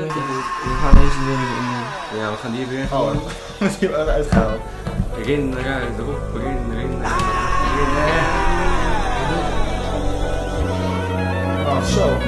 leuk. Ja, we gaan deze er even in. eh. Ja, we gaan die even erin gooien. Misschien hebben we eruit gehaald. Erin, eruit, erop, erin, erin, erin. Oh, zo.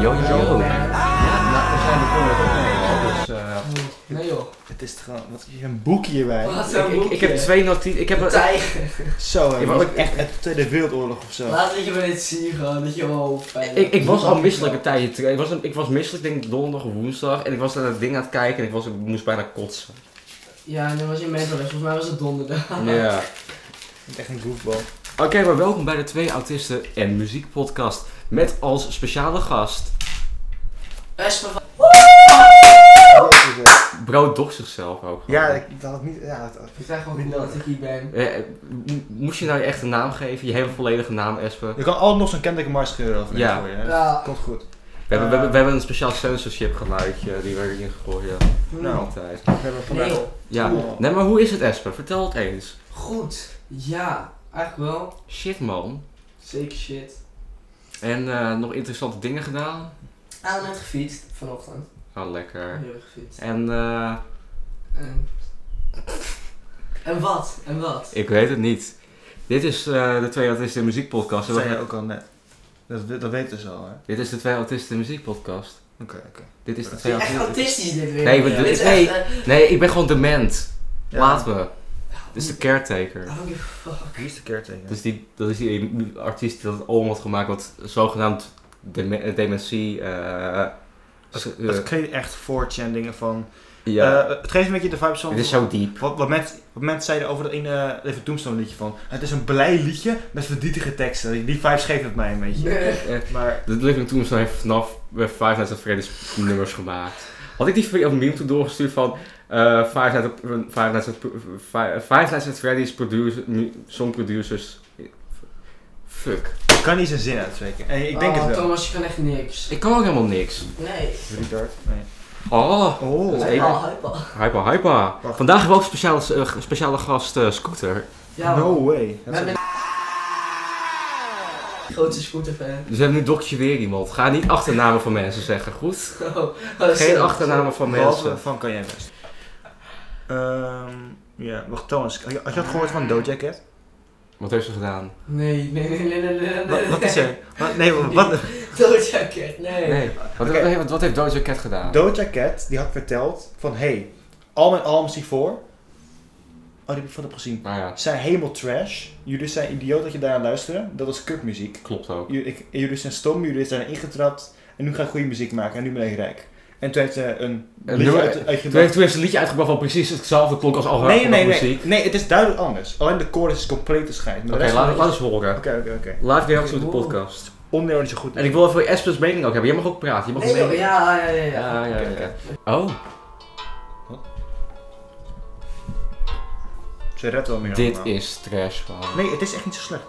Yo, yo, yo. Ja, nou, we zijn begonnen met opnemen, dus... eh, Nee joh. Het is gewoon, wat is hier een boek hierbij? Wat zo'n ik, ik, ik heb boekje. twee notities, ik heb... een- Tijger. Zo, hè, Ik was wou ook- echt uit de Tweede Wereldoorlog of zo. Laat dat je me dit zien gewoon, dat je wel fijn Ik, ik was al misselijk een tijdje terug. Ik was, ik was misselijk, denk ik, donderdag of woensdag. En ik was naar dat ding aan het kijken en ik, was, ik moest bijna kotsen. Ja, en dan was je meestal weg. Volgens mij was het donderdag. Ja. Echt een goofball. Oké, maar welkom bij de Twee Autisten en Muziek Podcast. Met als speciale gast... Best wel. Bro docht zichzelf ook. Ja, ik dat had niet. Ja, dat, Ik zeg gewoon dat ik hier ben. Eh, mo- moest je nou je echte naam geven? Je hele volledige naam, Espen? je kan altijd nog zo'n Kendrick Mars scheuren over Ja. voor je. hè. Ja. Komt goed. We Eh. hebben, we, hebben, we hebben een speciaal censorship geluidje die we erin gegooid hebben. Nou, Altijd. we hebben vandaag. Nee joh. Ja. Cool. Nee, maar hoe is het Esper? Vertel het eens. Goed. Ja, eigenlijk wel. Shit man. Zeker shit. En eh, nog interessante dingen gedaan? Aan net gefietst vanochtend. Gewoon lekker. Heel erg gefietst. En eh, En... en wat? En wat? ik weet het niet. Dit is eh, de Twee Autisten in Muziek Podcast. En Dat zei je we- ook al net. Dat, dat weten ze al, hè? Oké, Dit is de Twee Autisten in Muziek Podcast. oké. Dit is de Het Het Twee is echt Autisten. autistisch dit weer. Nee, we Ja. doen- Dit is nee, echt, eh, nee, ik ben gewoon dement. Ja. Laat me. Dit is de caretaker. I don't give a fuck. Wie is de caretaker? Dus die, dat is die artiest die dat oom had gemaakt, wat zogenaamd deme- eh, dementie. eh, Dat, s- dat eh, kreeg echt 4chan dingen van. ja, Eh, het geeft een beetje de vibes van. het is zo diep. Wat, wat, mensen, wat mensen zeiden over dat ene even Tombstone liedje van. Het is een blij liedje met verdrietige teksten. Die- Die vibes geeft het mij een beetje. Nee. Maar Eh, De Living Tombstone heeft vanaf eh, Five Nights at Freddy's nummers gemaakt. Had ik die video- meme toen doorgestuurd van eh, Five, Nights at, Five, Nights at, Five, Five Nights at Freddy's producer, mu- songproducers. Fuck. ik kan niet zijn zin uitspreken. En ik denk Oh, het wel. Thomas, je kan echt niks. Ik kan ook helemaal niks. Nee. Retard? Nee. Oh, Oh, Dat is hey. even- Hypa, hypa. hypa, hypa. Wacht. Vandaag hebben we ook speciale, eh, speciale gast eh, Scooter. Ja, no way. We Nou, Dat is- hebben een grote scooterfan. Dus we hebben nu doktje weer iemand. Ga niet achternamen van mensen zeggen, goed? Oh, oh, Geen sorry. achternamen van Eh, Behalve mensen. van kan jij best. Ehm ja, wacht Thomas. Had je had je dat gehoord van Doja Cat? Wat heeft ze gedaan? Nee, nee, nee, nee, nee, nee. Wat, wat is er? Wat, nee, wat? Doja Cat, nee. Nee. Wat, Oké. wat heeft- wat heeft Doja Cat gedaan? Doja Cat die had verteld van hey, al mijn albums hiervoor. Oh, die heb ik van heb gezien. nou ja, Zijn helemaal trash. Jullie zijn idioot dat je daaraan luisteren. Dat is kutmuziek. klopt ook. Jullie, ik- jullie zijn stom, jullie zijn ingetrapt. En nu ga ik goede muziek maken en nu ben ik rijk. En toen heeft ze een Een liedje nummer- uit, uitgebracht. Toen heeft, toen heeft ze een liedje uitgebracht wat precies hetzelfde klonk als al haar nee, nee, nee, muziek. nee. Nee, het is duidelijk anders. Alleen de chorus is compleet te scheiden. Oké, Maar de rest van laat, het laat eens horen. liedje- Oké, oké, oké. Live reactie op de podcast. Onderdeel is zo goed. En ik wil even Esper's mening ook hebben. Jij mag ook praten. Je mag Nee, een joh, mening- ja, ja, ja, ja. Ja, ja, ja. Oké, ja. Oh, Ze redt wel meer dit allemaal. is trash, man. Nee, het is echt niet zo slecht.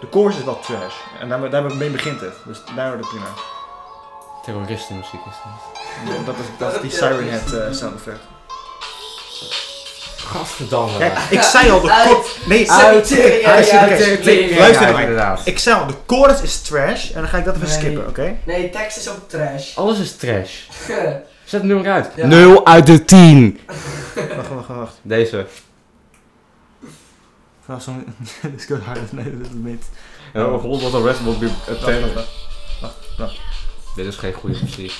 De chorus is wel trash. En daarmee, daarmee begint het. Dus daar wordt het prima. Terroristenmuziek is dat. Dat is, dat is die Siren Head eh, sound effect. Gadverdamme. Kijk, ik zei al, de Uit. chorus... Nee, Uit, sorry. ja, Hij is ja, de rest. tuurlijk, ja, ja, Luister naar mij. inderdaad. Ik zei al, de chorus is trash. En dan ga ik dat even Nee. skippen, oké? Nee, tekst is ook trash. Alles is trash. Oké, Zet het nummer uit. Ja. 0 uit de 10. Wacht, wacht, wacht. Deze. Ga zo... Let's go hard. Nee, dat is niet. En oh, god, wat een rest will be a Wacht, 10. wacht, wacht. Wacht, wacht. Dit is geen goede muziek.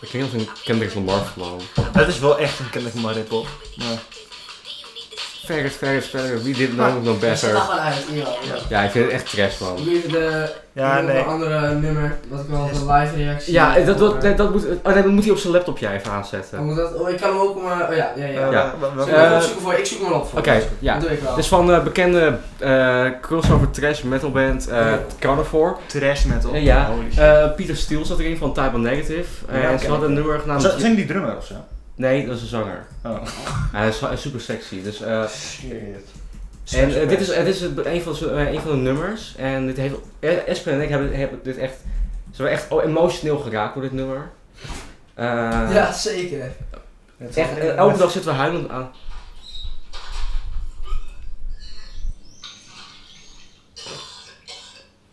Het klinkt als een Kendrick Lamar flow. Het is wel echt een Kendrick Lamar ripple. Maar... Ferret, ferret, ferret, wie dit nou nog zet dat better? gewoon uit, joh. joh. Ja, ik vind het echt trash man. Hier de, Ja, hier nog nee. een andere nummer, dat ik wel de live reactie Ja, heb, dat, maar- dat, nee, dat moet, oh nee, dat moet hij op zijn laptop jij even Dan aanzetten. moet dat, oh, ik kan hem ook om, eh, oh ja, ja, ja. Eh, Zullen Ja. wa- wa- we wa- Eh, hem opzoeken voor, ik zoek hem al op voor. Oké, ja. Dat Dus- doe ik wel. Het is van eh, bekende eh, crossover trash metal band eh Carnivore. Trash metal. Eh, ja. Oh, Holy shit. Eh, Pieter Steele zat erin van Type of Negative. Eh, Ja, en oké. Ze hadden een nummer Z- genaamd... Zijn die drummer of zo? Nee, dat is een zanger. Oh. Hij is, hij is super sexy. Dus, eh, Shit. En eh, dit is, eh, dit is het- een, van, z'n- eh, een van de nummers. En dit heeft, eh, Espen en ik hebben, hebben dit echt, zijn we echt oh, emotioneel geraakt door dit nummer. Eh, Ja, zeker. echt, eh, elke dag zitten we huilend aan.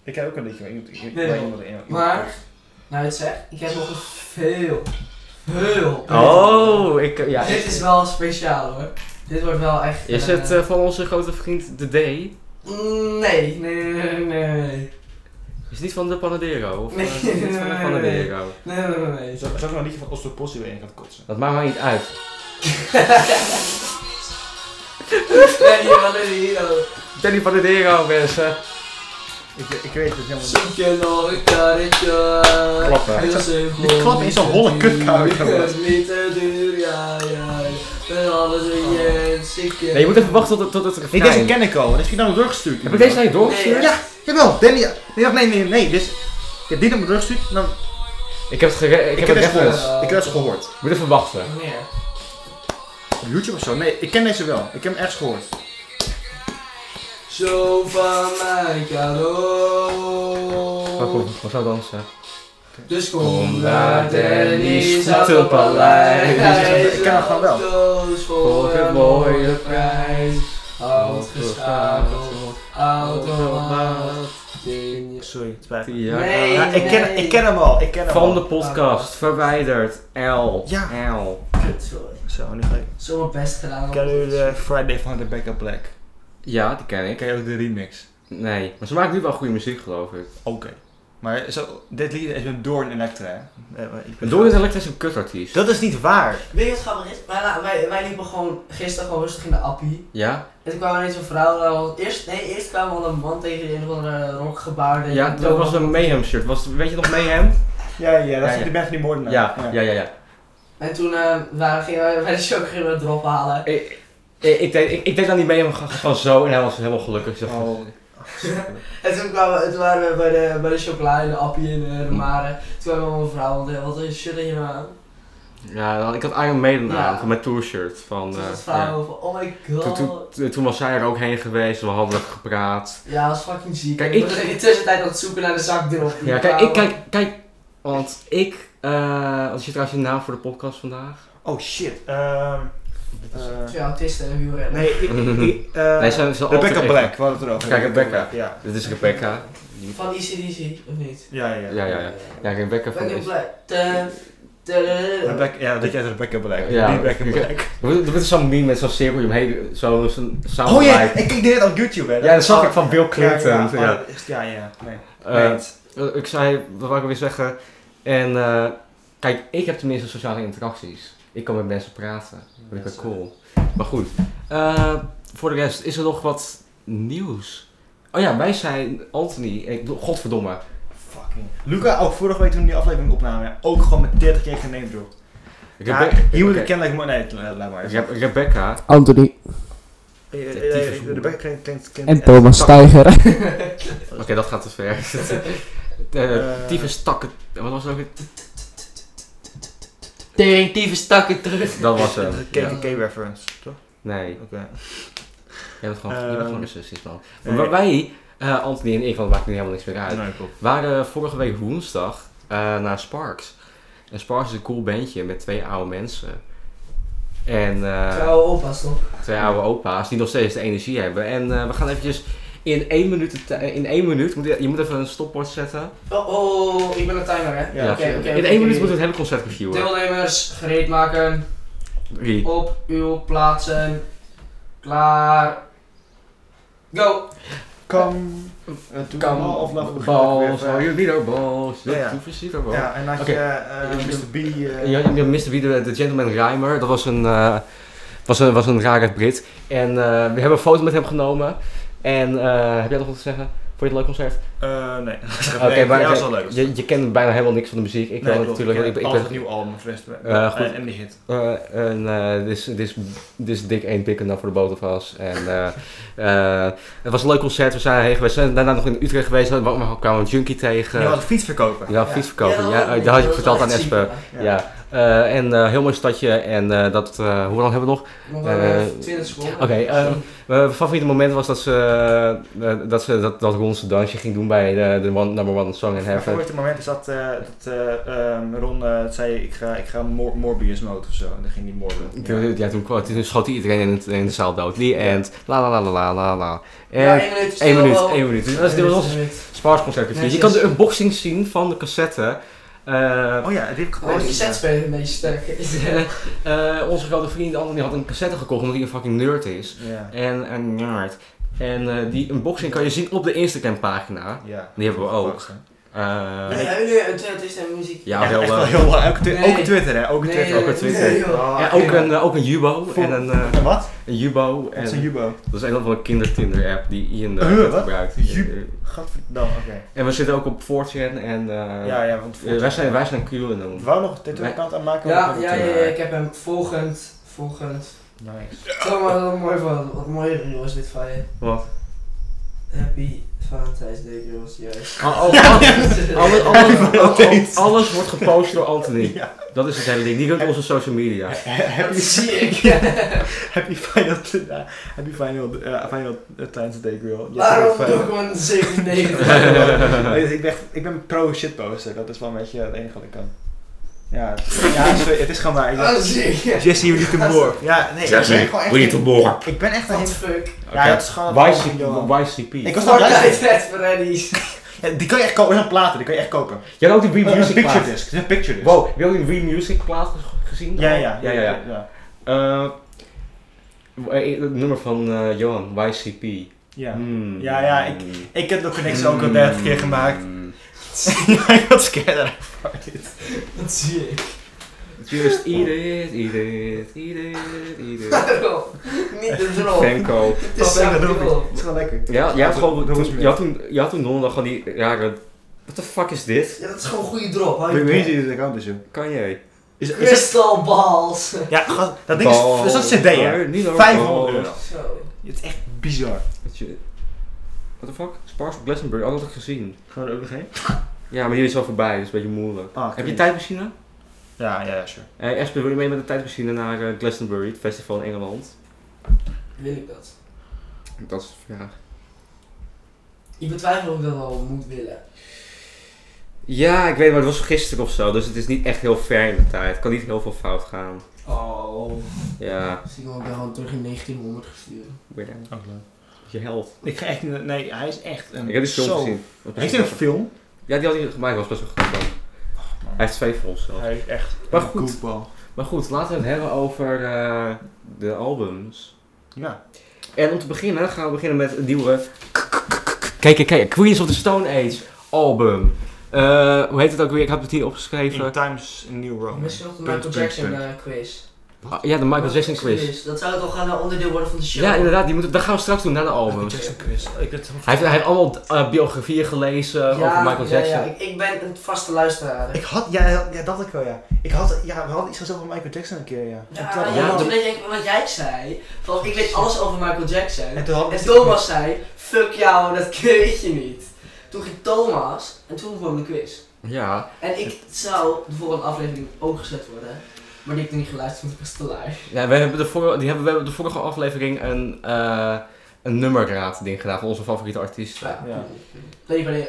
Ik heb ook een liedje, maar ik moet ik- ik- Nee, bij nee. iemand- iemand- Maar- Nou, het zegt, ik heb nog eens veel, veel. Oh, ik, ja. Dit is wel speciaal hoor. Dit wordt wel echt. Is eh, het eh, van onze grote vriend De D? Is Nee, nee, nee, nee, nee. het niet van de Panadero? Of eh, is het niet van de Nee. Panadero? Nee, nee, nee, nee. Zou zou ik nou een liedje van Oslo Posse weer in gaan kotsen? Dat maakt mij niet uit. Nee, hier, wat is hier oh. ook. Danny Panadero, mensen. Ik, ik weet het helemaal niet. Zoek je nog een karretje? Klappen. Heel simpel, Die klappen is niet een te holle duur. kutkuil, jongen. Het is niet te duur, ja, ja. Met alles in je en ziek. Nee, je moet even wachten tot, het- tot het refrein. Nee, deze ken ik al. Deze heb ik nou doorgestuurd. Heb ik deze naar je doorgestuurd? Nee, Ja, jawel. Danny, nee, nee, nee, nee. Dit, ik heb die naar me doorgestuurd. Nou, Ik heb het gere- ik, ik, heb het deze reference. reference. gehoord. Ik heb deze gehoord. Ik moet even wachten. Meer. Op YouTube of zo? Nee, ik ken deze wel. Ik heb hem ergens gehoord. Zo van mijn Maar cadeau. goed, we gaan dansen. Dus Kom kom naar naar Dennis Dennis Stadspaleis. Stadspaleis. Ik ken hem gewoon wel. Doos voor een mooie prijs. Handgeschakeld, automaat, ding. Sorry, het spijt me. Ja. Nee. Ja, ik, ken, ik ken hem al. Ik ken hem Van al. de podcast, verwijderd. L. Ja. L. Sorry. Zo, nu ga ik. Zo mijn best gedaan. Ken je de Friday van Rebecca Black? Ja, die ken ik. Ken je ook de remix? Nee. Maar ze maken nu wel goede muziek, geloof ik. Oké. Maar zo, dit lied is met Doorn Electra, hè? Eh, maar ik ben- Door is Elektra is een kutartiest. Dat is niet waar. Weet je wat grappig is? Wij, la- wij, wij liepen gewoon gisteren gewoon rustig in de appie. Ja? En toen kwam ineens een vrouw. eh, want Eerst, nee, eerst kwam al een man tegen een of andere rockgebaarde. Ja, dat was een Mayhem shirt. Was, weet je nog Mayhem? Ja, ja, dat Ja, is ja. de band van die moordenaar. Ja, ja, ja, ja. En toen eh, waren, gingen wij bij de show gingen we drop halen. Ik, ik, ik, deed- ik, ik deed aan die Mayhem g- gewoon zo en hij was helemaal gelukkig. Ik dacht, Oh. En toen, kwamen, we- toen waren we bij de, bij de chocola in de appie in eh, de Mare. Toen kwam al een vrouw, want eh, wat een shirt heb je nou aan? Ja, dan- ik had Iron Maiden Ja. aan, van mijn tourshirt. Van, Toen eh, was het ja. vrouw van, oh my toen, god. toen, toen- toen was zij er ook heen geweest, we hadden gepraat. Ja, dat is fucking ziek. Kijk, Kijk, ik- ik ben in de tussentijd aan het zoeken naar de zak erop. Ja, nou- kijk, ik, kijk, kijk, want ik, eh wat is je trouwens je naam voor de podcast vandaag? oh shit. Ehm eh, Twee autisten en huurrennen. nee, ik. ik eh, Nee, ze- ze Rebecca alter- Black, we hadden het erover. Kijk, Rebecca. Ja. Dit is Rebecca. Van ECDC, of niet? Ja, ja. Ja, ja, ja. Ja, Rebecca van... Black in Is, Black. Dun, dun, dun, dun. Eh, Rebecca, ja, dat jij het Rebecca Black. Ja. Ja, Rebecca Black. er wordt- er wordt zo'n meme met zo'n cirkeltje omheen, zo'n zo samen Oh ja, ik kijk dit op YouTube, hè. Oh. Ja, dat zag ik van Bill Clinton. Ja, ja, Ja. Oh, dat is- ja, ja. Nee. Eh, Meent. Eh, Ik zei, wat wou ik weer zeggen? En eh, kijk, ik heb tenminste sociale interacties. Ik kan met mensen praten. Dat vind ik wel cool. Maar goed, eh, voor de rest, is er nog wat nieuws? Oh ja, wij zijn Anthony. Ik, bedoel, godverdomme. Fucking. Luca, ook vorige week toen we die aflevering opnamen, ook gewoon met 30 keer geneemd, bro. Ja, Rebe- hier moet oké. ik kennelijk maar. Nee, laat laat maar. Re- Rebecca. Anthony Eh, eh, eh, Detective Zoom. Rebecca klinkt- klinkt- klinkt en echt- Thomas tak- Steiger. Oké, dat gaat te ver. Eh Eh. tyfus takken. Wat was het ook? weer? Tering, tyfus, takken terug. Dat was Dat is hem. een Ja. KKK-reference, toch? Nee, Oké. jij bent gewoon, je bent Ehm. gewoon racistisch, man. Nee. Maar wij, eh, Anthony en ik, want het maakt nu helemaal niks meer uit. Nee, klopt. waren vorige week woensdag eh, naar Sparks. En Sparks is een cool bandje met twee oude mensen. En eh, Trouwe opa's toch? twee oude opa's die nog steeds de energie hebben. En eh, we gaan eventjes in één minuut, de ti- in één minuut moet je, je moet even een stopwatch zetten. Oh, oh, ik ben een timer hè. Ja, oké, oké, in oké, één minuut moeten oké. we het hele concert reviewen. Deelnemers, gereed maken. Drie. Op uw plaatsen. Klaar. Go! Kan. eh, toen Kan al of laten we beginnen balls, weer, oh, eh, you need our balls, Ja, ja. you need our balls. Ja, en dan had je eh, Oké. Mr. B. eh, Ja, je miste wie de, de gentleman Reimer. Dat was een, eh, was een, was een rare Brit. En eh, we hebben een foto met hem genomen. En eh, heb jij nog wat te zeggen? Vond je het een leuk concert? eh, nee, Oké, Nee, maar ja, oké, dat is wel leuk. Je, je kent bijna helemaal niks van de muziek. Ik wel Nee, klopt. natuurlijk. Ik, ik ken alles ben het nieuwe album van West- Eh, goed. en, en de hit. eh, en, eh, dit is- dit is- dit is dik één pikken dan voor de boot of us. En eh, eh, het was een leuk concert. We zijn heen geweest. We zijn daarna nog in Utrecht geweest. We kwamen een junkie tegen. Je had een fiets verkopen. Ja, fiets verkopen. dat Ja, was- dat had je was verteld echt aan ziek, Espen. ja. Ja, Eh, en eh, heel mooi stadje. En eh, dat, eh, hoe lang hebben we nog? Nog Eh, eh, 20 seconden. oké, eh, Mijn favoriete moment was dat ze, eh, eh, dat, ze dat, dat Ronse dansje ging doen bij de, de one, number one song in Mijn heaven. favoriete moment is dat, eh, dat eh, ehm, Ron eh, zei, ik ga, ik ga Mor- Morbius mode of zo. En dan ging hij Morbius. Toen- Ja, toen, kwam- toen schoot hij iedereen in, het- in de zaal dood. Lee and la la la la la la la. ja, En 1 minuut. één stil, minuut, wel. één minuut. Dus dat is Eén dit was minuut, ons één minuut. Spars concert. Je Netjes. kan de unboxing zien van de cassette. Eh, Oh ja, dit heb ik Oh, gehoord. die cassette spelen een beetje sterk. eh, onze grote vriend Anthony had een cassette gekocht omdat hij een fucking nerd is. Ja. En een nerd. En eh, die unboxing kan je zien op de Instagram pagina. ja. Die hebben we ook. Fuck, hè. We Eh, hebben nu een Twentist en muziek. ja, Echt- wel, echt eh, wel heel lang. Ook, twi- Nee. ook Twitter, hè? Ook Nee, Twitter. nee, ook op Twitter. nee, joh. Oh, En oké. ook een, eh, ook een Jubo Voor- en een, eh, En wat? een Jubo. Dat En, is een Jubo. dat is een van een kindertinder app die Ian eh, Huh, wat? gebruikt. Ju- Gadverdamme, oké. En we zitten ook op 4chan en eh, Ja, ja, want... eh, wij zijn, wij zijn QAnon. Wou nog een tattoo-account aanmaken? Ja, Of- ja, ja, ja, ik heb hem. Volgend. Volgend. Nice. Zo, maar wat mooi van. Wat mooie reel is dit van je. Wat? Happy Valentine's Day, jongens. Juist. Oh, oh, Alles, alles, Ja, alles- eens. alles wordt gepost door Anthony. Ja. Dat is het hele ding. Die runt onze social media. Dat Happy, zie ik. happy final, ja, happy final, eh, final eh, Times Day Girl. dus Waarom Pokémon 97? ik, ben, echt- ik ben pro shitposter, dat is wel een beetje het enige wat ik kan. Ja, het- ja sorry, het is gewoon waar. Ik ben- Oh, Dat Ah, zie ik. Jesse, you need to more. Ja, nee, Jesse, ik ben gewoon echt... we need to more. Ik ben echt What een... the fuck? Ja, dat is gewoon... Oké. gewoon, joh. YCP. Ik was nog blij. Fortnite Red Freddy's. Ja, die kan je echt kopen, dat zijn platen, die kan je echt kopen. Jij hebt ook die Een- Wii een Music picture plaat. disc, een picture disc. Wow, heb je ook die Wii Music plaat ge- gezien? Ja, ja, ja, ja, ja. ja. Eh, eh, het nummer van eh, Johan, YCP. Ja. Hmm. Ja, ja, Ik heb de connectie ook al 30 keer gemaakt. Hmm. ja, ik was scared voor dit. Dat zie ik. Just eat it, eat it, eat it, eat it. Waarom? Niet de drol. Fanco. Het Dat is is zo'n lekker, drol. Het is gewoon lekker. Oh. Ja, jij had gewoon, Dat was toen, je had toen, je had toen donderdag gewoon die rare, what the fuck is dit? Ja, dat is gewoon een goede drop. Weet hou je je wie dit account is, joh? Kan jij? Is, is het- Crystal balls. ja, gast, dat ding is, is dat cd, hè? Niet 500 euro. Zo. Oh. Het is echt bizar. What the fuck? Sparks of Glastonbury, al had ik gezien. Gaan we er ook nog heen? Ja, maar hier is al voorbij, dus is een beetje moeilijk. Ah, Heb je oké. tijdmachine? Ja, ja, ja, sure. Eh Espen, wil je mee met de tijdmachine naar eh, Glastonbury, het festival in Engeland? Wil ik dat? Dat is de vraag. Ik betwijfel of ik dat al moet willen. Ja, ik weet maar het was gisteren of zo, dus het is niet echt heel ver in de tijd. Het kan niet heel veel fout gaan. Oh. Ja, Misschien word ik wel gewoon terug in 1900 gestuurd. weer een- Ook leuk. je held. Ik ga echt niet... Nee, hij is echt een... Ik heb die film zo- gezien. Dat was Heeft hij een best wel- film? Ja, die had hij gemaakt, was best wel goed. man. man. Hij heeft twee films zelf. Hij is echt Maar een goed. goofball. Maar goed, laten we het hebben over eh, de albums. Ja. En om te beginnen gaan we beginnen met een nieuwe. Kijk, kijk, kijk. Queens of the Stone Age album. Eh, hoe heet het ook weer? Ik had het hier In opgeschreven. Times New Roman. Misschien nog de Michael Punt, Jackson punt, punt. eh, quiz. Ah, Ja, de Michael Jackson quiz. Dat zou toch gaan een onderdeel worden van de show? Ja, inderdaad. Die moeten, dat gaan we straks doen, naar de albums. Michael Jackson quiz. Ik weet het Hij heeft, hij heeft allemaal eh, biografieën gelezen Ja, over Michael ja, Jackson. Ja, ik, ik ben een vaste luisteraar. Ik had, ja, ja, ja, dat had ik wel, ja. Ik had, ja, we hadden iets gezegd over Michael Jackson een keer, ja. Ja, toen ja, hadden ja, we- toen denk ik, wat jij zei, van ik weet alles over Michael Jackson. en toen hadden En Thomas zei, fuck jou, dat weet je niet. Toen ging Thomas en toen kwam de quiz. Ja. En ik zou de volgende aflevering ook gezet worden, maar die heb ik nog niet geluisterd, want ik was te lui. ja we, hebben de vor- die hebben, we hebben de vorige aflevering een, eh een nummerraad ding gedaan van onze favoriete artiesten. Ja. Nee, maar nee.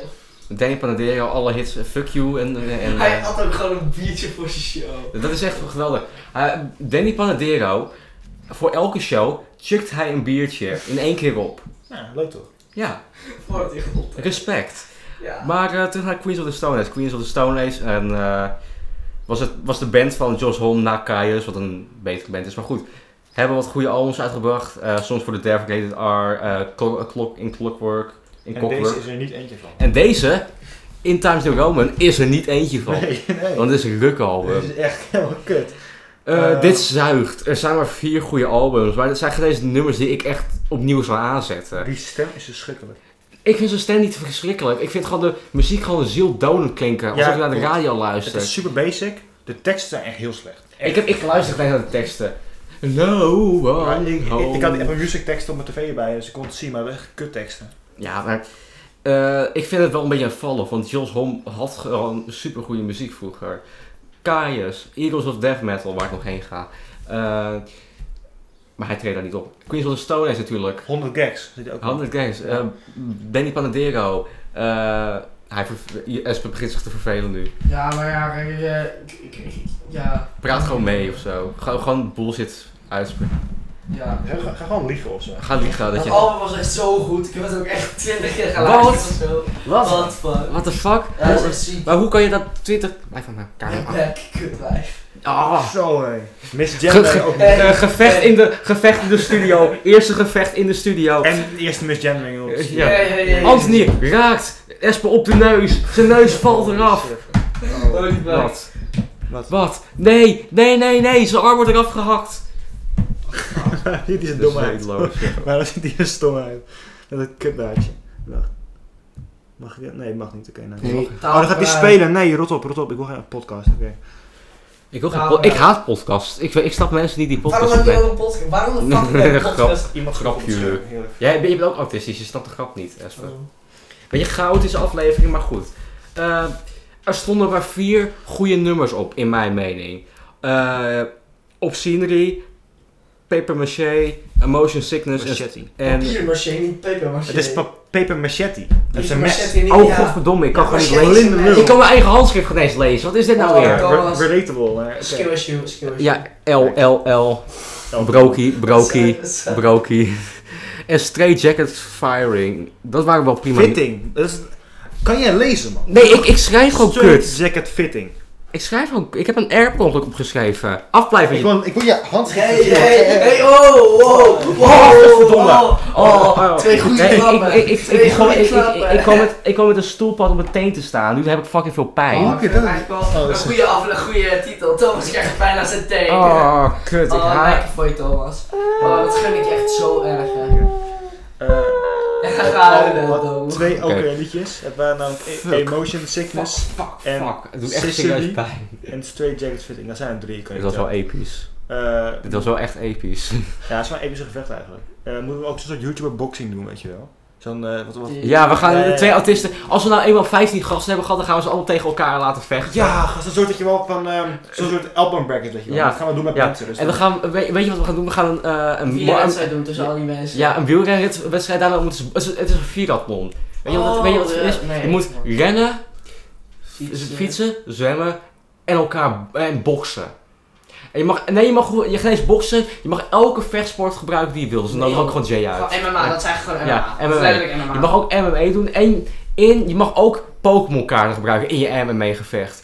Danny Panadero, alle hits, eh, fuck you en... en, en- eh, Hij had ook gewoon een biertje voor zijn show. Dat is echt geweldig. Eh, Danny Panadero, voor elke show chukt hij een biertje in één keer op. Ja, Nou, leuk toch? Ja, Voor het ingelopen. respect. Ja. Maar eh, terug naar Queens of the Stone Age. Queens of the Stone Age en, eh, was, het, was de band van Josh Holm na Caius, wat een betere band is. Maar goed, hebben wat goede albums uitgebracht. eh, soms voor de Devastated R, eh, Clo- Clock in Clockwork, in en deze Clockwork. is er niet eentje van. En deze, in Times New Roman, is er niet eentje van. Nee, nee. Want het is een rukhalbum. Dit is echt helemaal kut. Eh, Eh, dit zuigt. Er zijn maar vier goede albums. Maar dat zijn geen eens de nummers die ik echt opnieuw zou aanzetten. Die stem is verschrikkelijk. Ik vind zijn stem niet verschrikkelijk. Ik vind gewoon de muziek gewoon zieldonend klinken. Alsof Ja, ik naar de klopt. radio Het luister. is super basic. De teksten zijn echt heel slecht. Ik heb ik geluisterd naar de teksten. No Maar ik, one ik, home. ik had Apple Music teksten op mijn tv erbij, dus ik kon het zien, maar echt kut teksten. Ja, maar... eh, ik vind het wel een beetje een vallen, want Jos Hom had gewoon supergoeie muziek vroeger. Kaius, Eagles of Death Metal, waar ik nog heen ga. Eh, maar hij treedt daar niet op. Queens of the Stone Age natuurlijk. 100 gags. Zit hij ook op. 100 Gangs. eh, Benny Panadero. Eh, hij ver- Espen begint zich te vervelen nu. Ja, maar ja, kijk, eh, ik- ik- ik- ja. Praat gewoon mee of zo. Ga gewoon bullshit uitspreken. Ja. Ga, ga- ga gewoon liegen of zo. Ga liegen dat Dat je... album was echt zo goed. Ik heb het ook echt 20 keer geluisterd Wat? of zo. Wat? Wat fuck. What the fuck? Ja, dat is echt ziek. Maar hoe kan je dat 20... Blijf van mijn kamer af. Back, kutwijf. Ah. Zo hé. Miss Ge- ge- Gender ook. eh, Eh, gevecht, in de, gevecht in de studio. Eerste gevecht in de studio. En de eerste Miss Gender. Eh, Ja, Ja. ja, ja. ja. Anthony raakt Espen op de neus. Zijn neus valt eraf. Oh, die back. Wat? Wat? Wat? Nee, nee, nee, nee. Zijn arm wordt eraf gehakt. Dit is een Dat is domheid. weetloos. Maar dan zit hier een stomheid. Met een kutbaardje. Wacht. Mag ik dat? Nee, mag niet. Oké, nou. Nee. Oh, dan gaat hij spelen. Nee, rot op, rot op. Ik wil geen podcast. Oké. Ik, wil geen Nou, po- ik ja. haat podcasts. Ik, ik snap mensen die die Waarom podcasts heb je opnemen. ook een podcast? Waarom de fuck heb je een podcast? Iemand Grapje. komt. Heerlijk. Jij bent- je bent ook autistisch, je snapt de grap niet, Espen. Oh. Beetje chaotische aflevering, maar goed. Eh, er stonden maar vier goede nummers op, in mijn mening. Eh Obscenery, Paper Maché, Emotion Sickness en... Machete. en Papier maché, niet paper maché. Het is pa- paper machete. Dat is een mes. machete in oh, India. godverdomme, ik kan Ja, gewoon niet machete lezen. is Linda een- Mul. Ik kan mijn eigen handschrift geen eens lezen. Wat is dit nou Oh, weer? ja. re- relatable. maar oké. Skill issue, skill issue. Ja, L, L, L. Nou, Brokie, brokie, brokie. En Straight Jacket Firing. Dat waren wel prima. Fitting. Dat is- kan jij lezen, man? Nee, ik, ik schrijf gewoon Straight kut. jacket fitting. Ik schrijf gewoon... Ik heb een R per ongeluk opgeschreven. Afblijven. Ik wil, ik wil je handschrift. Hey, hey, hey, oh, wow, wow, godverdomme. wow. Oh, twee goede Nee, ik- klappen. ik- ik- ik- Twee ik- goede ik- ik- klappen. ik kwam met- Ik kwam met een stoelpad op mijn teen te staan. Nu heb ik fucking veel pijn. Oh, Oh, ik vind het eigenlijk wel Oh, dat een is- goede af, een goede titel. Thomas krijgt bijna zijn teken. kut. Ik Oh, haat... lekker voor je, Thomas. Oh, dat gun ik je echt zo erg, hè. Ga huilen, Uh, Thomas. Eh, twee oké Oké. liedjes. Het waren namelijk E- Fuck. Emotion Fuck, Sickness fuck, en fuck. Het doet echt Sissy serieus Lee. pijn. en Straight Jacket Fitting. Dat zijn er drie, kan je Dit was wel vertellen. episch. Eh, Dit was wel echt episch. Ja, het is wel een epische gevecht eigenlijk. Eh, moeten we ook zo'n soort YouTuber boxing doen, weet je wel? Zo'n, eh, wat, wat... Ja, we gaan Ja, ja, ja. twee autisten... Als we nou eenmaal 15 gasten hebben gehad, dan gaan we ze allemaal tegen elkaar laten vechten. Ja, gast, een soort dat je wel van, ehm, zo'n soort elbow bracket, weet je wel. Ja. Dat gaan we doen met Ja. mensen, dus En we dan- gaan... Weet, weet je wat we gaan doen? We gaan een... eh, een, Vier een- wedstrijden doen tussen al die mensen. ja, een wielrenwedstrijd daarna moeten ze... Het is- het is een vierathlon. Weet je wat, weet je wat het Oh, is? ja, nee. Je moet rennen, Fietsen. Fietsen, zwemmen en elkaar en boksen. En je mag, nee, je mag gewoon- je gaat eens boksen. Je mag elke vechtsport gebruiken die je wil. Dus dan Nee, ook gewoon Jay uit. Gewoon MMA, dat zijn gewoon MMA. Ja, Dat is MMA. letterlijk MMA. Je mag ook MMA doen en in, je mag ook Pokémon kaarten gebruiken in je MMA gevecht.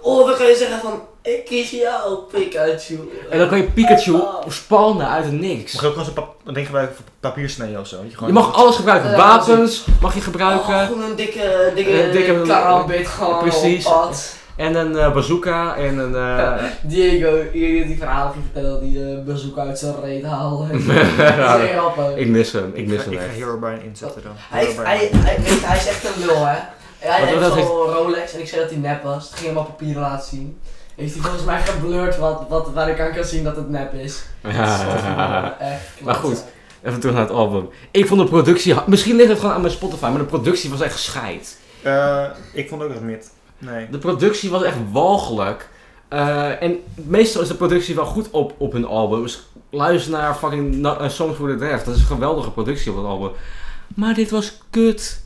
Oh, dan kan je zeggen van, ik kies jou, Pikachu. En dan kan je Pikachu Oh. spannen uit het niks. Mag je ook wel zo'n pap- een ding gebruiken voor papier snijden of zo? weet Je gewoon- mag alles gebruiken. Ja, Wapens mag je gebruiken. Oh, gewoon een dikke, dikke, Een Eh, dikke- karambit gewoon Precies. op pad. En een eh, bazooka en een... eh, Diego, die, die verhaal die vertelde, die eh, bezoek uit zijn reet haalde. Dat is echt grappig. ik mis hem, ik mis ga- hem Ik ga echt. Hero Brian inzetten dan. Hij, Hero Brian. hij, hij, weet je, hij is echt een lul, hè. Hij Wat- heeft wat heeft- zo'n Rolex en ik zei dat hij nep was. Toen ging hem op papieren laten zien. Heeft hij volgens mij geblurred wat, wat, waar ik aan kan zien dat het nep is. Echt, Ah. Maar goed. Even terug naar het album. Ik vond de productie... Misschien ligt het gewoon aan mijn Spotify, maar de productie was echt scheid. Eh, ik vond ook dat mid. Nee. De productie was echt walgelijk. Eh, en meestal is de productie wel goed op, op hun albums. Luister naar fucking Na- eh, Songs for the Draft. Dat is een geweldige productie op dat album. Maar dit was kut.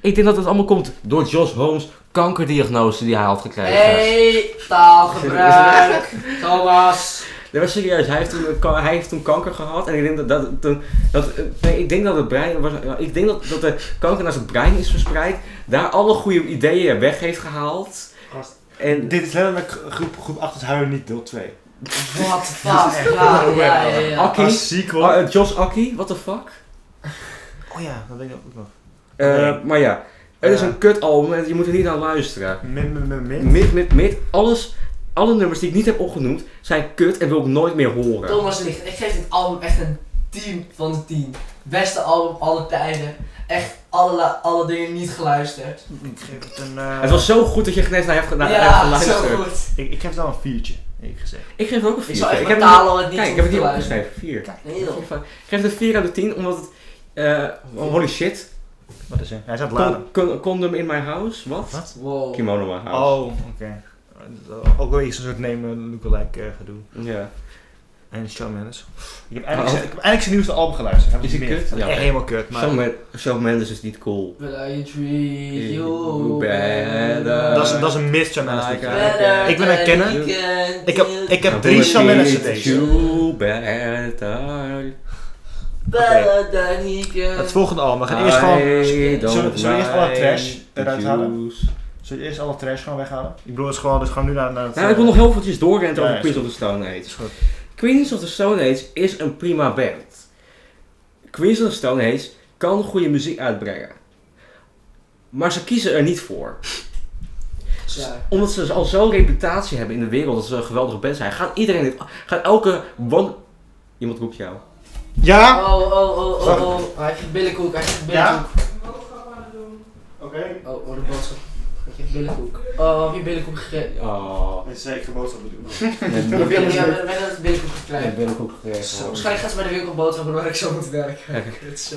Ik denk dat het allemaal komt door Josh Holmes' kankerdiagnose die hij had gekregen. Hey, taalgebruik. Thomas. Nee, maar serieus, hij heeft, toen, een kan- hij heeft toen kanker gehad. En ik denk dat, dat, toen- dat, eh, nee, ik denk dat het brein. Was, ja, ik denk dat, dat de kanker naar zijn brein is verspreid. Daar alle goede ideeën weg heeft gehaald. Gast. En Dit is letterlijk groep, groep 8 is huilen niet deel 2. What the fuck. Ja, ja, ja, ja. Oké. Een Ah, sequel. Oh, eh, Jos Aki, what the fuck? Oh ja, dat weet ik ook nog. Eh, Nee. Maar ja, het is Ja. een kut album en je moet er niet naar luisteren. Min, min, min, min. Mid, mid, mid, alles, alle nummers die ik niet heb opgenoemd zijn kut en wil ik nooit meer horen. Thomas ligt. Ik geef dit album echt een 10 van de 10. Beste album alle tijden. Echt alle, alle dingen niet geluisterd. Ik geef het een... eh, Het was zo goed dat je geen eens naar hebt, naar hebt ja, zo geluisterd. goed. ik, ik geef het al een viertje, eerlijk gezegd. Ik geef het ook een 4. Ik zal echt heb betalen om het niet Kijk, ik te heb het hier luisteren. opgeschreven, 4. Ik Nee, joh. geef het een 4 uit de 10, omdat het... eh, Oh, holy shit. Wat is er? Hij is aan het laden. Con- con- condom in my house, wat? Wat? Wow. Kimono in my house. Oh, oké. Ook wel iets een soort nemen lookalike eh, gedoe. Ja. En Shawn Mendes. Ik heb Oh. eigenlijk, zijn- ik heb eigenlijk zijn nieuwste album geluisterd. Heb Is ik hij gemist. kut? Dat is Ja. Echt helemaal kut. Maar Shawn Men- Shawn Mendes is niet cool. Will I treat You you better. dat, is, dat is een mist Shawn Mendes. Ah, liedje. ja. Better Ik wil herkennen. than you can Ik heb, do. ik heb Nou, drie Bullet Shawn Mendes Beat, cd's. You better. Better than he can. Het volgende album. We gaan eerst gewoon... I don't Zullen zullen we eerst alle like trash the eruit halen? juice. Zullen we eerst alle trash gewoon weghalen? Ik bedoel, het is gewoon, dus gewoon nu naar, naar het... Nou, ik wil nog heel eventjes doorrennen Ja, over is Queens of the Stone Age. Is goed. Queens of the Stone Age is een prima band. Queens of the Stone Age kan goede muziek uitbrengen. Maar ze kiezen er niet voor. Ja. Omdat ze al zo'n reputatie hebben in de wereld dat ze een geweldige band zijn, gaat iedereen dit. Gaat elke. One... Iemand roept jou. Ja! Oh, oh, oh, oh, oh. Hij geeft billenkoek, hij geeft Ja? billenkoek. Oké. Oh, oh, de boodschap. Hij geeft billenkoek. Oh, wie billenkoek gekregen? Oh. Dat is zeker boodschap bedoeld. Met Ja, billenkoek. wij hebben net billenkoek Met gekregen. billenkoek gekregen. Zo, Waarschijnlijk gaat ze bij de winkel boodschappen waar ik zo moet werken. eh, Kut, zo.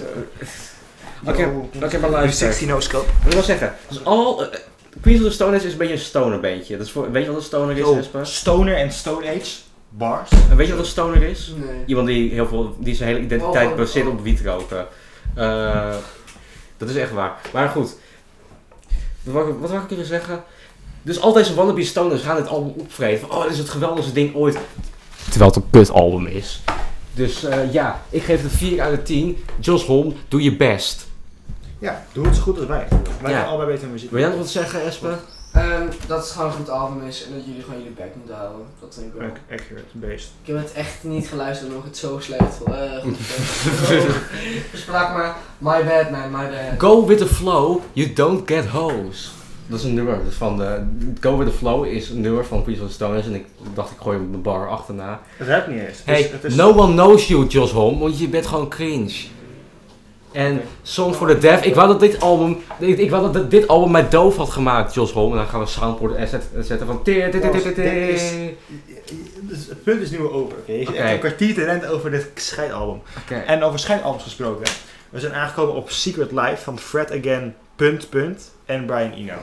Oké, oké, maar luister. 16 no nou scope. Wat wil ik wel zeggen? Dus al, eh, Queens of the Stone Age is een beetje een stoner bandje. Dat is voor, weet je wat een stoner is, Yo, Esper? Stoner en Stone Age. Bars. En weet je wat een stoner is? Nee. Iemand die, heel veel, die zijn hele identiteit Oh. baseert op wiet roken. Eh, dat is echt waar. Maar goed, wat wou ik- wat wil ik kunnen zeggen? Dus al deze wannabe stoners gaan dit album opvreten. Van, oh, dit is het geweldigste ding ooit. Terwijl het een kut album is. Dus eh, ja, ik geef het 4 uit de 10. Josh Holm, doe je best. Ja, doe het zo goed als wij. Wij Ja. gaan allebei beter muziek. Wil jij nog wat zeggen, Espen? Ehm, dat het gewoon een goed album is en dat jullie gewoon jullie bek moeten houden. Dat denk ik wel. Ac- Accurate, based. Ik heb het echt niet geluisterd omdat ik het zo slecht vond. Eh, goed. Oh, Besprak me. My bad man, my bad. Go with the flow, you don't get hoes. Dat is een nummer van de. Go with the flow is een nummer van Queens of the Stone Age en ik dacht ik gooi hem op mijn bar achterna. Het heb niet eens. Het Hey, is- het is- no one knows you, Josh Holm, want je bent gewoon cringe. En Oké. Song for the Deaf, ik wou dat dit album, ik, ik wou dat dit album mij doof had gemaakt, Josh Holm. En dan gaan we soundboard zetten, zetten van. teer, teer, teer, teer, teer. Dit is- Dus Het punt is nu weer over. oké? Je zit Oké. echt een kwartier te rent over dit scheidalbum. Oké. En over scheidalbums gesproken. We zijn aangekomen op Secret Life van Fred Again, punt, punt. En Brian Eno.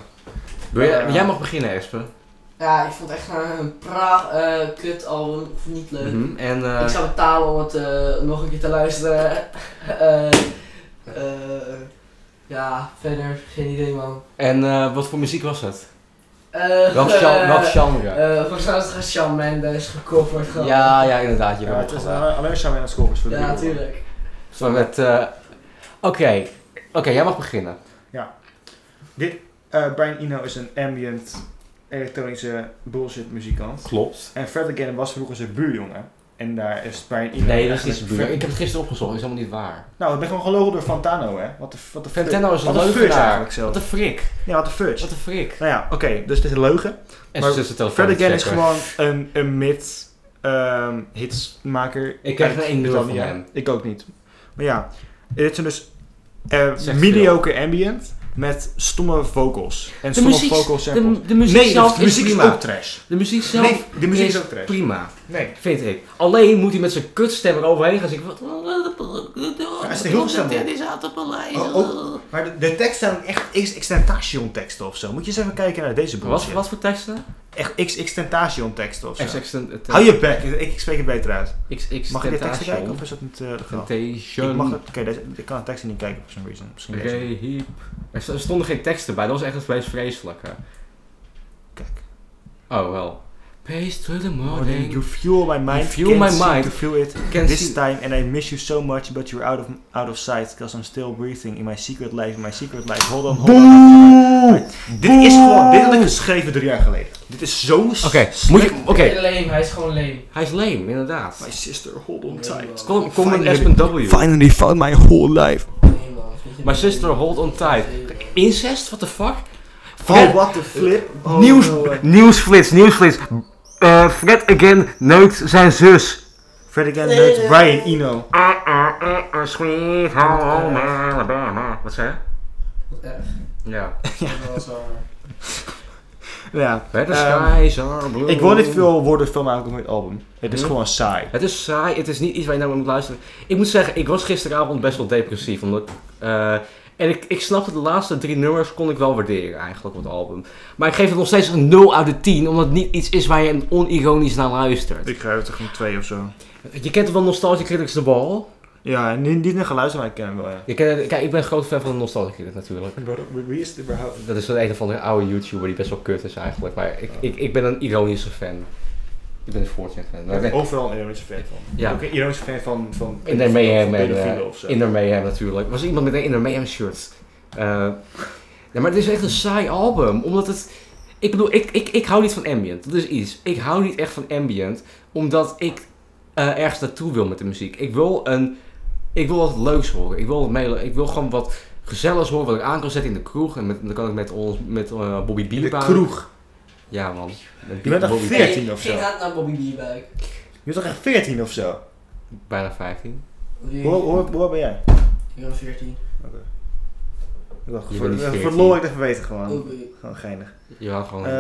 Wil jij- Jij mag beginnen, Espen. Ja, ik vond het echt een pra eh kut album. Ik vond het niet leuk. Mhm, En eh, Ik zou betalen om het eh, nog een keer te luisteren. Eh, eh, ja, verder geen idee man. en eh, wat voor muziek was het? Eh, Welk gen- welk eh, genre? eh, Volgens mij was het gewoon Shawn Mendes gecoverd gewoon. Ja, ja, inderdaad, je eh, Ja, hebt het het is gedaan. eh, alleen samen aan het scoren voor de Ja, doel. natuurlijk. Zo met, eh, Oké, oké, jij mag beginnen. Eh, Brian Eno is een ambient, elektronische bullshit muzikant. Klopt. En Fred Again was vroeger zijn buurjongen. En daar is Brian Eno... Nee, dat is niet eigenlijk zijn buur. ver- Ik heb het gisteren opgezocht, dat is helemaal niet waar. Nou, ik ben gewoon gelogen door Fantano, hè. Wat de wat de Fantano is een wat de fudge leugenaar. eigenlijk zelf. Wat een frik. Ja, wat de fudge. Wat een frik. Nou ja, oké. dus het is een leugen. En Maar ze is het telefoon Fred Again is checken. gewoon een, een mid ehm, hitsmaker. Ik krijg uit geen nul van Britannia. hem. Ik ook niet. Maar ja, dit zijn dus eh, Zegt mediocre ambient met stomme vocals. En De stomme muziek- vocal samples. de, de muziek nee, zelf de muziek is is prima. ook trash. de muziek zelf Nee, de muziek is, is ook trash. prima, Nee. vind ik. Alleen moet hij met zijn kutstem eroverheen gaan zingen. hij is er heel stem op. Dit is uit de paleis. Oh, oh. Maar de, de tekst zijn echt X-Extentation teksten of zo. Moet je eens even kijken naar deze Wat, bullshit. wat voor teksten? Echt X-Extentation teksten of zo. Hou Hou je bek, ik, ik spreek het beter uit. XX Mag ik de teksten kijken of Tentation. is dat niet eh legaal? Ik, mag Tentation. het, oké, deze- ik kan de teksten niet kijken voor some reason. Misschien deze. Rehiep. Er st- er stonden geen teksten bij, dat was echt het meest vreselijke. Kijk. Oh wel. Pace to the morning. Oh, You fuel my mind, You fuel can't my seem mind. to feel it Can this see- time and I miss you so much but you're out of, out of sight because I'm still breathing in my secret life, in my secret life, hold on, hold on. Dit is gewoon, dit had ik geschreven drie jaar geleden. Dit is zo Oké, Oké, moet je- oké. Leem, hij is gewoon leem. Hij is leem, inderdaad. My sister, hold on tight. Kom, kom met Finally- Espen W. Finally found my whole life. Nee, man. vind je My niet? sister hold on tight. Incest, what the fuck? Oh, what the flip. Oh, nieuws, no, eh. nieuwsflits, nieuwsflits. Eh, Fred again neukt zijn zus. Fred again, that's Brian Eno. Ah, ah, ah, ah, sweet home eh, Alabama. Wat zei je? Wat erg. Ja. Dat was wel, eh, Ja. Where the Ehm, skies are blue. Ik wil niet veel woorden filmen eigenlijk met het album. Het is Hm? gewoon saai. Het is saai, het is niet iets waar je naar moet luisteren. Ik moet zeggen, ik was gisteravond best wel depressief. Omdat eh, En ik, ik snapte de laatste drie nummers kon ik wel waarderen eigenlijk op het album. Maar ik geef het nog steeds een 0 uit de 10, omdat het niet iets is waar je een onironisch naar luistert. Ik geef het toch een 2 of zo. Je kent wel Nostalgia Critics de bal. Ja, niet, niet naar geluisterd, maar ik ken hem wel, ja. Je kent, kijk, ik ben een groot fan van Nostalgia Critic natuurlijk. Wie is het überhaupt? Dat is wel een van de oude YouTuber die best wel kut is eigenlijk. Maar ik, ik, ik ben een ironische fan. Ik ben een Fortune fan. Maar ik ben- Overal een ironische fan van. Ja. Ook een ironische fan van... van In de Mayhem van en pedofielen eh, of zo. In de Mayhem natuurlijk. Er was iemand met een In de Mayhem shirt. Eh, ja, maar het is echt een saai album. Omdat het... Ik bedoel, ik, ik, ik hou niet van ambient. Dat is iets. Ik hou niet echt van ambient. Omdat ik eh, ergens naartoe wil met de muziek. Ik wil een... Ik wil wat leuks horen. Ik wil, wat mele- ik wil gewoon wat gezelligs horen. Wat ik aan kan zetten in de kroeg. En met, dan kan ik met, ons, met eh, Bobby In de Bielebaan. kroeg. Ja, man. Je bent echt Bobby- veer- 14 Hey, of zo. Ging dat naar Bobby Bierbuik? Je bent toch echt 14 of zo? Bijna 15. Hoe, hoe, hoe oud ben jij? Ik ben 14. Ik dacht, Je bent niet ver- 14. verloor ik even weten gewoon. Oké. Gewoon geinig. Je had gewoon... Eh,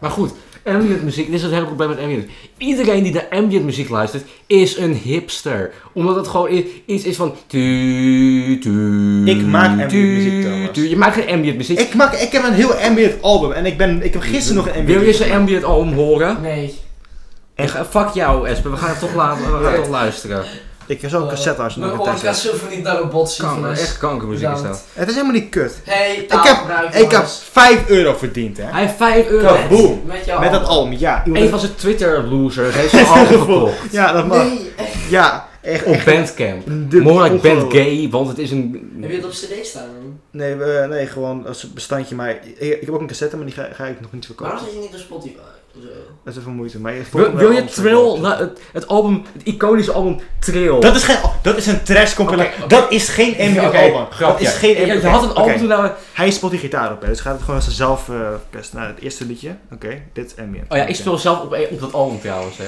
Maar goed, ambient muziek, dit is het hele probleem met ambient. Iedereen die naar ambient muziek luistert, is een hipster. Omdat het gewoon i- iets is van... tu, tu, Ik maak tu, ambient muziek, Thomas. tu. Je maakt geen ambient muziek. ik, maak, ik heb een heel ambient album en ik, ben, ik heb gisteren nog een ambient Wil je zijn ambient album horen? Nee. En- Eh, Fuck jou, Espen. We gaan het toch, laten, we gaan het Ja. toch luisteren. Ik heb zo'n cassette als je nog Mijn een tekst hebt. oorkast zoveel niet naar een bot Kanker, echt kankermuziek is dat. Bedankt. Het oh, is helemaal niet kut. Hey, heb- taalgebruik, Ik heb jongens. 5 euro verdiend, hè? Hij heeft 5 euro. Kaboom. boem. Met jou. Met dat album, ja. Iemand Een van zijn Twitter-losers heeft zijn album gekocht. Ja, dat mag. Nee. Ja, echt. Op echt Bandcamp. de- More like ongelooflijk. Band Gay, want het is een... Heb je het op cd staan? hoor? Nee, eh, nee, gewoon als bestandje. Maar ik, ik heb ook een cassette, maar die ga, ga ik nog niet verkopen. Waarom zit je niet op Spotify? Of zo? Dat is even moeite. Maar je Wil, wil je Trill, nou, het, het album, het iconische album Trill. Dat is, geen, dat is een trash compilatie. Oké, oké. Dat is geen ambient Oké, album. Dat grapje. is geen Je, ambient je had een album Oké, toen nou... Hij speelt die gitaar op, hè, dus gaat het gewoon als een zelf eh best. Nou, het eerste liedje. Oké, dit is ambient. Oh ja, ik speel zelf op, op dat album trouwens, hè.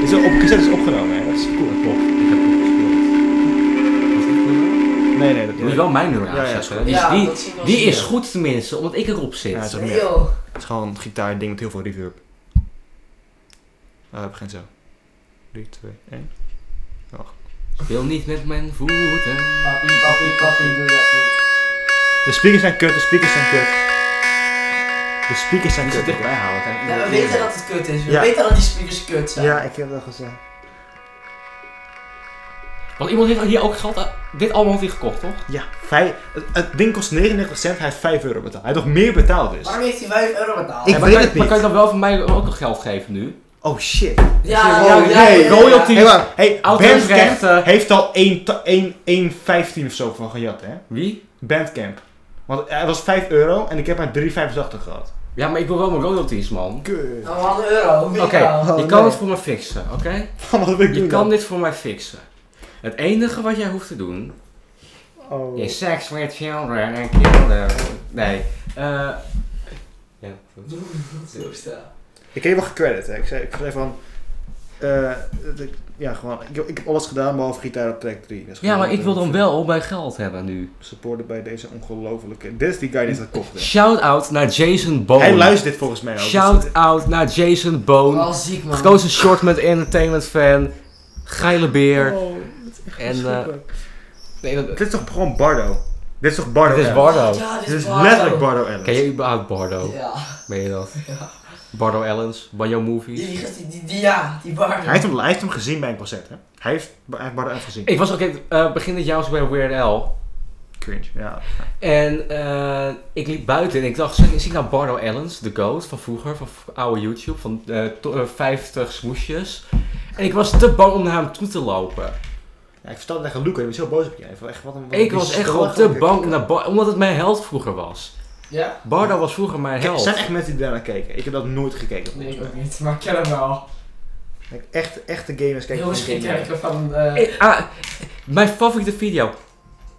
Dit is op cassette is opgenomen, hè. Dat is cool. Ik heb het gespeeld. Nee, nee, dat Moet je wel mijn nummer Ja, ja, aanzetten. is dus Ja, die, dat zie ik wel die zien, is ja. goed tenminste, omdat ik erop zit. Ja, dat is ook Nee, meer. joh. Het is gewoon een gitaarding met heel veel reverb. Ah, het begint zo. 3, 2, 1. Speel niet met mijn voeten. Papi, papi, papi, doe dat niet. De speakers zijn kut, de speakers zijn kut. De speakers zijn Ik moet kut. dichtbij houden. Ja, kijk. we weten dat het kut is. We Ja. weten dat die speakers kut zijn. Ja, ik heb dat gezegd. Want iemand heeft hier ook geld... aan- Dit album had hij gekocht, toch? Ja, vijf, het, het ding kost 99 cent, hij heeft 5 euro betaald. Hij heeft nog meer betaald dus. Waarom heeft hij 5 euro betaald? Ik Ja, maar weet kan- het Maar kan je niet. dan wel van mij ook nog geld geven nu? Oh shit. Ja, Oh, ja, ja, nee, ja, royalty. ja. Hey, maar, hey Bandcamp Auteursrechten. heeft al 1 ta- 1 1,15 of zo van gejat, hè? Wie? Bandcamp. Want hij was 5 euro en ik heb maar 3,85 gehad. Ja, maar ik wil wel mijn royalties, man. Kut. Nou, we hadden een euro. Oké, Oké. Oh, je kan nee. het voor me fixen, oké? Wat wil ik Je doen kan dan? dit voor mij fixen. Het enige wat jij hoeft te doen Oh. is seks met children and children. Nee. Eh ja, goed. Ik heb je wel gecredit, hè. Ik zei, ik zei van... eh, dat ik- ja, gewoon, ik, heb- ik heb alles gedaan behalve gitaar op track 3. Dat is ja, gewoon maar ik wil een dan wel mijn geld hebben nu. Supported bij deze ongelofelijke... Dit is die guy die dat kocht, hè. Shout out naar Jason Bone. Hij luistert dit volgens mij ook. Shout out naar Jason Bone. Al ziek man. Gekozen shortman entertainment fan. Geile beer. Oh, En. eh verschrikkelijk. nee, dat, Dit is toch gewoon Bardo? Dit is toch Bardo dit is Allen? Bardo. Ja, dit Dit is is letterlijk Bardo. Bardo Allen. Ken je überhaupt Bardo? Ja. Meen je dat? Ja. Bardo Allens, Banjo Movies. Die, die, die, die- ja, die Bardo. Hij heeft, hem, hij heeft hem gezien bij een concert, hè? Hij heeft, hij heeft Bardo Allen gezien. Ik was ook in, eh, begin dit jaar was ik bij Weird Al. Cringe, ja. En eh, ik liep buiten en ik dacht, zie, zie ik nou Bardo Allens, de goat van vroeger, van v- oude YouTube, van eh, to- eh, 50 smoesjes. En ik was te bang om naar hem toe te lopen. Ja, ik vertelde het tegen Luca, die was heel boos op je. Hij vond Echt, wat een, wat een ik was echt gewoon te belachelijke bang om kikker. naar Bar- omdat het mijn held vroeger was. Ja? Bardo was vroeger mijn Kijk, Er zijn held. echt mensen die daarnaar kijken. Ik heb dat nooit gekeken. volgens Nee, mij. ook niet. Maar ik ken hem wel. Kijk, Echt, echte gamers kijken. Heel geen gamers. kijken van... eh, Ik- ah, mijn favoriete video.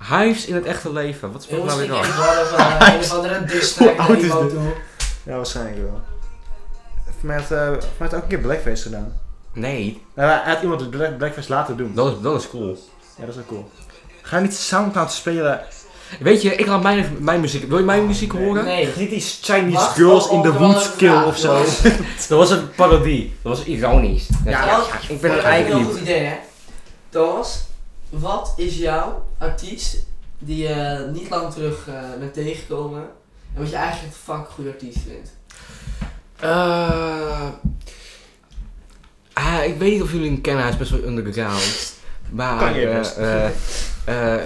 Hives in het echte leven. Wat speelt Oh, Heel nou misschien weer af? kijken Bardo van eh, een of andere distrack Hoe oud is dit? toe. Ja, waarschijnlijk wel. Hij heeft, eh, volgens mij heeft hij ook een keer Blackface gedaan. Nee, Nou, hij had iemand het black- Blackface laten doen. dat is, dat is cool. Ja, dat is wel cool. Ga niet Soundcloud spelen. Weet je, ik laat mijn, mijn muziek. Wil je mijn muziek horen? Nee. Niet die Chinese Wacht, Girls oh, in the oh, gewoon Woods een kill vraag, of zo. jongens. Dat was een parodie. Dat was ironisch. Ja, Dat- dat- ik ben dat het is een heel eigenlijk goed niet. idee, hè? Thomas, wat is jouw artiest die je niet lang terug eh, bent tegengekomen en wat je eigenlijk een fucking goede artiest vindt? Eh, ah, ik weet niet of jullie hem kennen, hij is best wel underground. Maar Kan je eh, best. eh, eh, eh,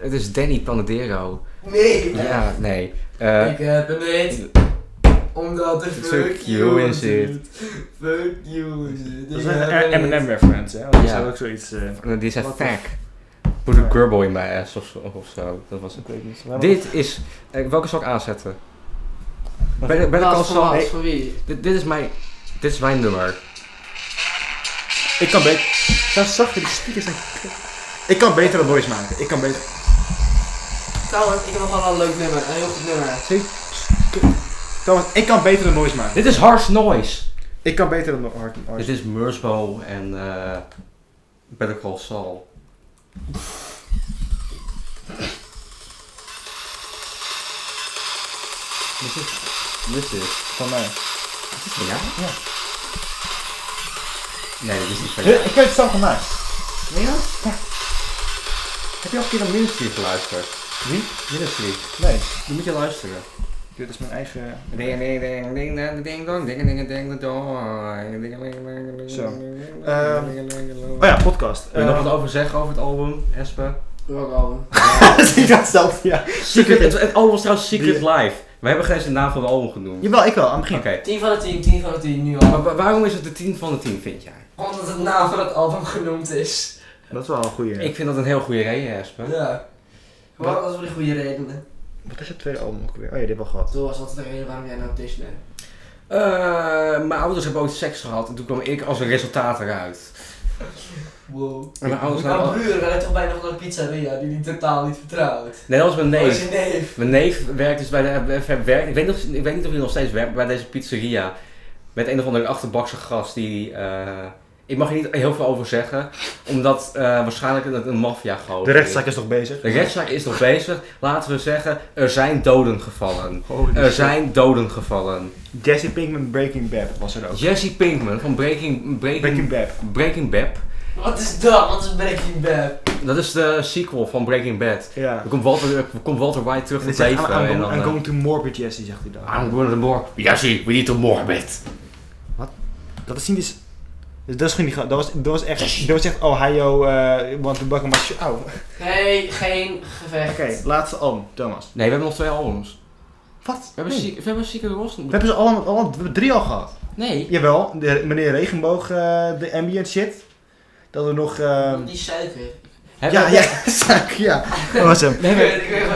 het is Danny Panadero. Nee! Ja, nee. Eh, Ik heb hem niet. Omdat de fuck you in zit. Fuck you in zit. Dat is Ik heb een hem niet. Eminem reference, hè? Dat is eh, Ja. ook zoiets. eh, die zei Wat fuck. Put a girl in my ass of, zo- of zo. Dat was het. ik weet niet. Waarom- Dit is. eh, welke zal ik aanzetten? Ben, ben ik Wat, al van zo- wat? Nee, Van wie? dit, dit is mijn. Dit is mijn nummer. Ik kan beter. Zo zachter, die speakers zijn. kut. Ik kan betere noise maken. Ik kan beter. Trouwens, ik heb nog wel een leuk nummer. Een heel goed nummer. Thomas, ik kan betere noise maken. Dit is Harsh Noise. Ik kan betere no- hard Dit noise. is Mursbo en eh Better Call Saul. Dit is. Dit is. Van mij. Is dit van jou? Ja. Nee, dit is niet van jou. Ik weet het zelf van mij. Ja? Heb je al een keer naar Ministry geluisterd? Wie? Ministry. Nee. Die moet je luisteren. Dit is mijn eigen. Ding ding ding ding ding ding dong ding ding ding dong. Zo. Oh ja, podcast. Ehm, Wil je nog Eh, wat over zeggen over het album, Espe? Welk album? ik had zelf, ja. Secret, het, het album was trouwens Secret Die- Life. We hebben geen eens de naam van het album genoemd. Jawel, ik wel, aan het begin. Oké. 10 van de 10, 10 van de 10, nu al. Maar wa- waarom is het de 10 van de 10, vind jij? Omdat het naam van het album genoemd is. Dat is wel een goede. Ik vind dat een heel goede reden, Espe. Ja. Gewoon alles voor de goede redenen. Wat is het tweede album ook weer? Oh ja, dit hebben we gehad. Toen was altijd de reden waarom jij nou op Disney bent. Eh, mijn ouders hebben ooit seks gehad en toen kwam ik als een resultaat eruit. Wow. En mijn ouders Mijn hadden al- buren waren toch bijna van een pizzeria die die totaal niet vertrouwt. Nee, dat was mijn Dat is neef. je neef. Mijn neef werkt dus bij de. eh, Werkt, ik, weet nog, ik weet niet of hij nog steeds werkt bij deze pizzeria. Met een of andere achterbakse gast die. eh, ik mag er niet heel veel over zeggen, omdat eh, waarschijnlijk dat een maffia De rechtszaak is nog bezig. De rechtszaak is nog bezig. Laten we zeggen, er zijn doden gevallen. Holy Er shit. zijn doden gevallen. Jesse Pinkman Breaking Bad was er ook. Jesse Pinkman van Breaking, Breaking Breaking, Bad. Breaking Bad. Wat is dat? Wat is Breaking Bad? Dat is de sequel van Breaking Bad. Ja. Dan komt Walter, eh, komt Walter White terug En tot zegt, leven. I'm, I'm, en going, dan, I'm eh, Ah. going to morbid Jesse, zegt hij dan. I'm going to mor- Jesse, we need to morbid. Dat is niet eens... Dat is gewoon niet gewoon- dat was, dat was echt, dat was echt Ohio, eh want de bakken was Auw. Oké, Nee, geen gevecht. laatste album, Thomas. Nee, we hebben nog twee albums. Wat? We hebben, nee. ziek- we hebben Secret Ross we hebben ze allemaal, allemaal, we hebben drie al gehad. Nee. Jawel, de, meneer Regenboog, eh, de ambient shit. Dat er nog... ehm, Die suiker. Heb- ja, we- ja, zaak, ja. Dat was hem. We hebben,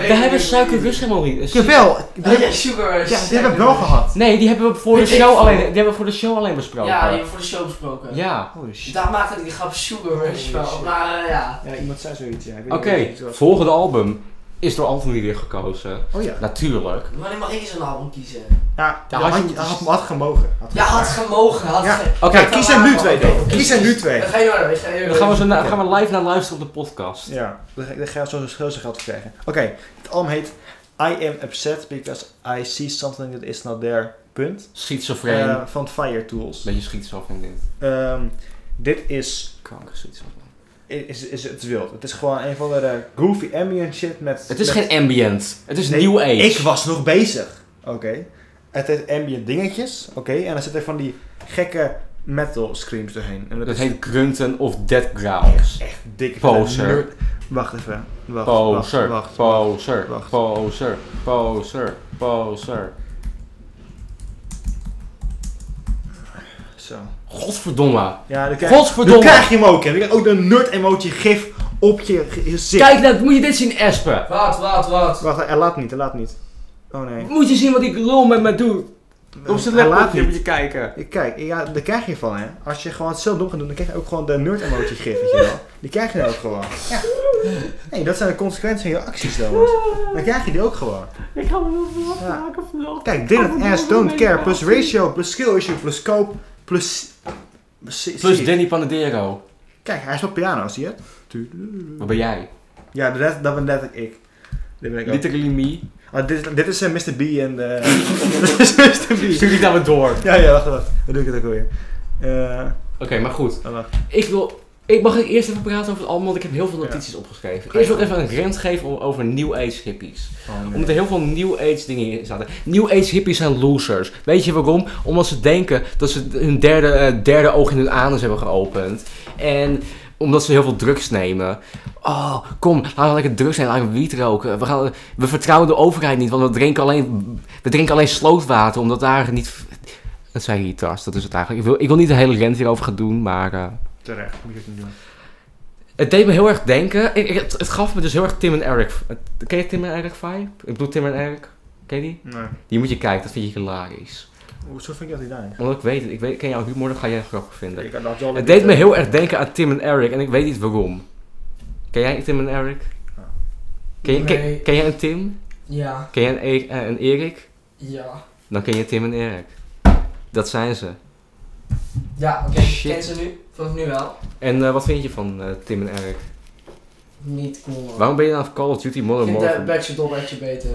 we hebben Suiker Rush helemaal niet. Eh, Jawel, die Oh heb- ja, sugar. ja, die hebben we wel gehad. Nee, die hebben we voor de Weet ik show veel. alleen, die hebben we voor de show alleen besproken. Ja, die hebben we voor de show besproken. Ja. Holy shit. Daar maakte ik die grap sugar rush Oh, shit. van. Maar eh, ja. Ja, iemand zei zoiets, ja. Ik weet Oké, niet of het was. volgende album is door Anthony weer gekozen. Oh ja. Natuurlijk. Wanneer mag ik eens een album kiezen? Ja, Ja, ja, had had, je- had, had gemogen. Had Ja, had gevraagd. gemogen. Had Ja. ge- Oké, Ja, Kies er nu twee Dan dingen. Kies er nu twee. ga je maar door, ik ga je maar dan door. gaan we, zo na- gaan we live naar luisteren op de podcast. Ja, daar ga- daar ga je zo'n schuld zijn geld voor krijgen. Oké, het album heet I am upset because I see something that is not there. Punt. Schizofreen. Eh, van Fire Tools. Beetje schizofreen dit. Ehm, dit is, Kanker schizofreen. is, is, het is wild. Het is gewoon een van de groovy ambient shit met... Het is met- geen ambient. Het is Nee, Dus new age. Ik was nog bezig. Oké. Het heeft ambient dingetjes. Oké. En dan zit er van die gekke metal screams doorheen. En dat, Dat is heet grunten of dead growls. echt dik. Poser. Nerd- Wacht even. Wacht, Poser, wacht, wacht, poser, wacht. poser, poser, poser. Zo. Godverdomme. Ja, dan krijg, Godverdomme. dan krijg je hem ook. Hè. Dan krijg je ook een nerd emotie gif op je ge- gezicht. Kijk, nou, moet je dit zien, Espen. Wat, wat, wat? Wacht, hij laat niet. Hij laat niet. Oh nee. Moet je zien wat die lul met me doet. Op zijn Hij laat laptopje moet niet. je kijken. Ik- Kijk, ja, daar krijg je van hè. Als je gewoon het zelf dom gaat doen, dan krijg je ook gewoon de nerd emotie gif, weet je wel. Die krijg je dan ook gewoon. Ja. Nee, dat zijn de consequenties van je acties dan. Dan krijg je die ook gewoon. Ik ga me wel Ja. maken vlog. Kijk, didn't ask, don't care, plus ratio, plus skill issue, plus scope, plus... Plus, Plus Danny Panadero. Kijk, hij speelt piano, zie je het? Wat ben jij? Ja, dat, dat ben letterlijk ik. Dit ben ik ook. Literally me. Ah, dit, is- dit is eh, Mr. B en de... dit is Mr. B. Stuur niet naar me door. Ja, ja, wacht, wacht. Dan doe ik het ook weer. Eh, Oké, maar goed. oh, wacht. Ik wil... Ik mag ik eerst even praten over het album, want ik heb heel veel notities opgeschreven. Eerst wil ik even een rant geven o- over New Age hippies. Omdat er heel veel New Age dingen in zaten. New Age hippies zijn losers. Weet je waarom? Omdat ze denken dat ze hun derde, eh, derde oog in hun anus hebben geopend. En omdat ze heel veel drugs nemen. Oh, kom, laten we lekker drugs nemen, laten we wiet roken. We, gaan, we vertrouwen de overheid niet, want we drinken alleen, we drinken alleen slootwater, omdat daar niet... Dat zijn retards, dat is het eigenlijk. Ik wil, ik wil niet de hele rent hierover gaan doen, maar... eh, Terecht, moet je ook niet doen. het deed me heel erg denken. Ik, ik- het, het gaf me dus heel erg Tim en Eric. Ken je Tim en Eric vibe? Ik bedoel Tim en Eric. Ken je die? Nee. Die moet je kijken, dat vind je hilarisch. Hoezo vind je dat niet daar? Omdat ik weet het, ik weet, ken jouw humor, dat ga jij grappig vinden. had wel Het deed me heel erg denken aan Tim en Eric en ik weet niet waarom. Ken jij Tim en Eric? Ah. Ken, je- ken, Nee. ken jij een Tim? Ja, Ken jij een, E- eh, een Erik? ja. Dan ken je Tim en Eric. Dat zijn ze. Ja, oké, ik Shit. ken ze nu. Vanaf nu wel. En eh, wat vind je van eh, Tim en Eric? Niet cool. man. Waarom ben je nou van Call of Duty Ik Modern vind de Warfare? Badger Dop uitje beter.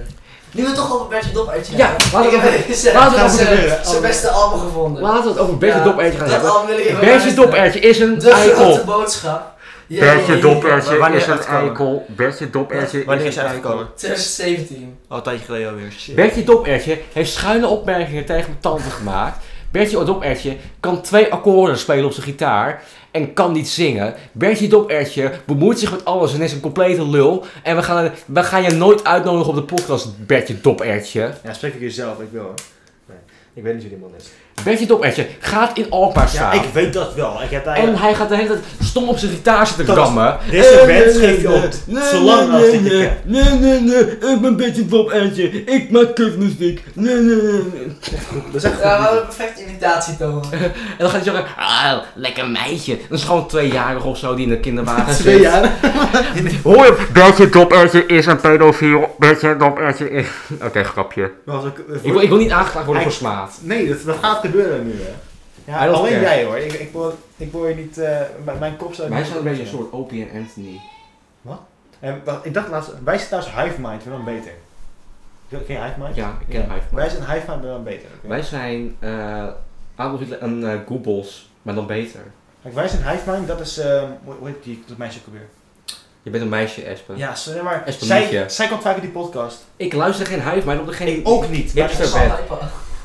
Nu we het toch over Badger Dop uitje Ja, hebben. laten we Ik het heb eh, even- zijn- laten we zijn- het even zijn- proberen. Zijn beste album gevonden. Laten we het over Bertje Ja, Dopertje gaan dat hebben. album wil ik even Bertje luisteren. Dopertje is een De grote eikel. boodschap. Ja, ja, Bertje ja, ja. Dopertje Wanneer is is een het gekomen? eikel. Bertje Dopertje is Wanneer is een hij eikel. uitgekomen? 2017. Al een tijdje geleden alweer. Shit. Bertje Dopertje heeft schuine opmerkingen tegen mijn tante gemaakt. Bertje Dopertje kan twee akkoorden spelen op zijn gitaar en kan niet zingen. Bertje Dopertje bemoeit zich met alles en is een complete lul. En we gaan, we gaan je nooit uitnodigen op de podcast, Bertje Dopertje. Ja, spreek ik jezelf, ik wil hoor. Nee, ik weet niet wie die man is. Bertje Dopertje gaat in Alkmaar Ja, staan. ik weet dat wel. Ik heb daar... En hij gaat de hele tijd stom op zijn gitaar zitten Dat was- rammen. Eh, Deze wens geeft hij op. Zolang als dit je nee, kent. nee, nee, nee, ik ben Bertje Dopertje. Ik maak kutmuziek. Nee, nee, nee. nee. Dat is echt Ja, we goed. hadden een perfecte imitatie, Thomas. En dan gaat hij zeggen, ah, lekker meisje. Dat is gewoon tweejarig of zo die in de kinderwagen zit. Twee jaar. Hoor je, Bertje Dopertje is een pedofiel. Bertje Dopertje is... Oké, grapje. Maar als ik- eh, Ik wil, ik wil niet aangeklaagd worden voor Hij- smaad. Nee, dat, dat gaat gebeuren nu, hè. Hij Ja, was alleen kerst. jij hoor. Ik, ik, wil, ik wil je niet... eh, mijn- mijn kop zou... Wij zijn een beetje een soort Opie en Anthony. En, wacht, ik dacht laatst... Wij zijn thuis Hive Mind, we dan beter. Ken je Hive Mind? Ja, ik ken Hive Mind. Wij zijn Hive Mind, we dan beter. oké? Wij zijn eh Adolf Hitler en eh Goebbels, maar dan beter. Kijk, wij zijn Hive Mind, dat is... ehm, hoe hoe heet die, dat meisje ook alweer? Je bent een meisje, Espen. Ja, sorry, maar... Espen Zij, Mietje. zij komt vaak in die podcast. Ik luister geen Hive Mind, op degene... Ik ook niet. Ja, maar- ik zou-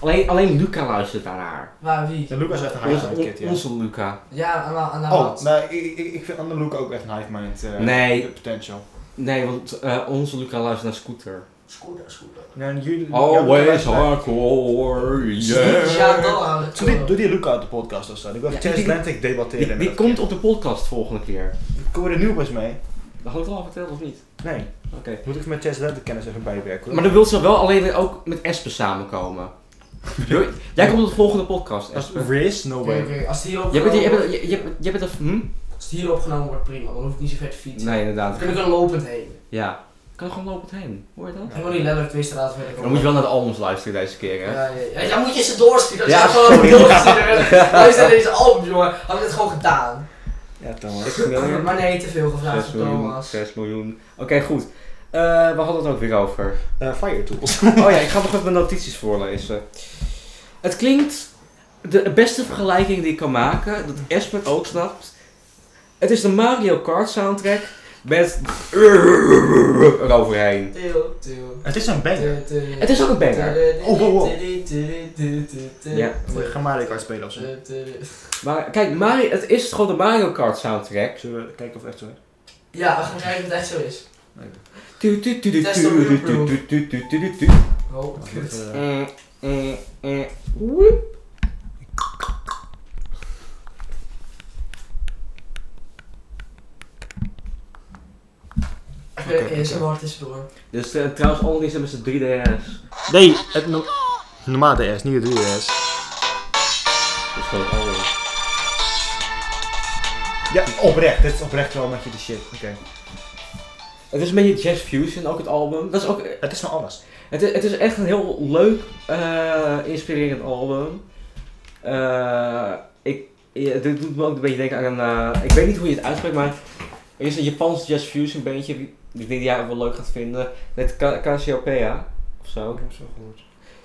Alleen, alleen Luca luistert naar haar. Waar, wie? Ja, Lucas is echt een Onze, Hive Mind kid, ja. onze Luca. Ja, aan, aan, aan Oh, wat? nou, ik, ik, ik vind Anne Luca ook echt een Hive Mind eh, Nee. potential. Nee, want eh, onze Luca luistert naar Scooter. Scooter, scooter. Nou, en jullie, Always hardcore, yeah. Ja, dan. Doe die, doe die Luca uit de podcast of zo. Ik wil Ja, Chess die- die- Atlantic debatteren. Die, met die dat komt kind. op de podcast volgende keer. Komen we er nieuwbus mee? Dat had ik al al verteld of niet? Nee. Oké. Moet ik met Chess Atlantic kennis even bijwerken? hoor. Maar dan wil ze wel alleen ook met Espen samenkomen. Jij- Jij komt op de volgende podcast, Als Espen. Riz? No Oké, way. oké, als het hier Jij bent, opgenomen jij wordt, bent, jij- jij bent, jij bent een... Hm? als het hier opgenomen wordt, prima. Dan hoef ik niet zo ver te fietsen. Nee, Dan inderdaad. kun ik er lopend heen. Ja. Ik kan gewoon lopend heen. Hoor je dat? En gewoon niet letterlijk twee straten verder Dan moet je wel naar de albums luisteren deze keer, hè? Ja, ja, ja. ja, moet je ze doorsturen. Ja, Ja, gewoon sorry. doorsturen. Luister naar deze album, jongen. Had ik het gewoon gedaan. Ja, Thomas. Maar nee, te veel gevraagd 6 van miljoen. Thomas. 6 miljoen. Oké, goed. Eh, we hadden het ook weer over. Eh, fire tools. Oh ja, ik ga nog even mijn notities voorlezen. Het klinkt... De beste vergelijking die ik kan maken, dat Espen ook snapt. Het is de Mario Kart soundtrack met... eroverheen. Til, til, Het is een banger. til, til. Het is ook een banger. Oh, wow, wow. Ja. Ja. Ga Mario Kart spelen of zo. Maar kijk, Mario, het is gewoon de Mario Kart soundtrack. Zullen we kijken of het echt zo is? Ja, we gaan kijken of het echt zo is. Tu, tu, tu, tu, Test of tu, your tu, tu, tu, tu, tu, tu. Oh, kut. Eh, eh, eh, woep. Even ASMR tussendoor. Dus eh, trouwens, al die zijn met z'n 3DS. Nee, het no normaal DS, niet het 3DS. Dus gewoon alles. Ja, oprecht. Dit is oprecht wel met je de shit. Oké. Het is een beetje Jazz Fusion, ook het album. Dat is ook, Het is van alles. het, is, het is echt een heel leuk, eh, inspirerend album. Eh, ik, ja, dit doet me ook een beetje denken aan een... eh, ik weet niet hoe je het uitspreekt, maar er is een Japans Jazz Fusion bandje. Wie- Ik denk dat jij ook wel leuk gaat vinden. Net Ca- Cassiopeia of zo. heb zo gehoord.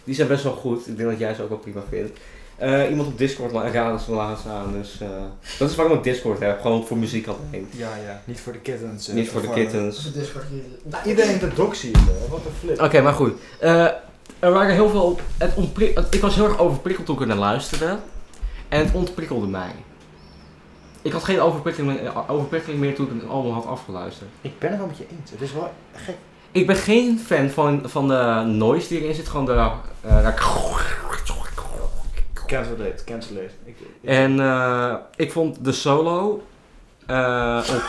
Die zijn best wel goed. Ik denk dat jij ze ook wel prima vindt. Eh, iemand op Discord la- raadde ze laatst aan. Dus, eh, dat is waarom ik Discord heb. Gewoon voor muziek alleen. Ja, ja. Niet voor de kittens. eh, Niet voor de of, eh, Dat kittens. is een Discord niet. Nou, Iedereen de dox hier, hè. Wat een flip. Oké, maar goed. Eh, er waren heel veel... Het ontpri- het- ik was heel erg overprikkeld toen ik er naar luisterde. En het ontprikkelde mij. Ik had geen overprikkeling, me- eh, overprikkeling meer toen ik het album had afgeluisterd. Ik ben het wel met je eens. Het is wel gek. Ik ben geen fan van, van de noise die erin zit. Gewoon de... eh, Cancel dit, cancel dit. Ik- ik- en eh, ik vond de solo... eh, op,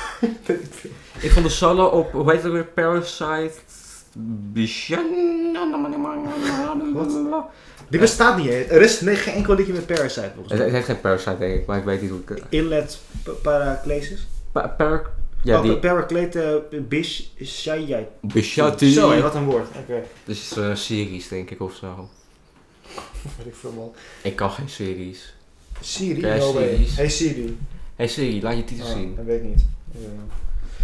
ik vond de solo op... Hoe heet het ook weer? Parasite... Wat? Die bestaat niet, hè. Er is nee, geen enkel liedje met Parasite, volgens Het, mij. het heeft geen Parasite denk ik, maar ik weet niet hoe ik... Inlet pa- Paraclesis? Pa- per- ja, oh, die... Paraclete eh, Bish Shayai. Bishati. Zo, hé, wat een woord. Oké. Dat is eh, series, denk ik, of zo. Weet ik veel, man. Ik kan geen series. Siri, Ja, no way. Siri's. Hey Siri. Hey Siri, laat je titel Oh, zien. dat weet ik niet. Ik weet niet.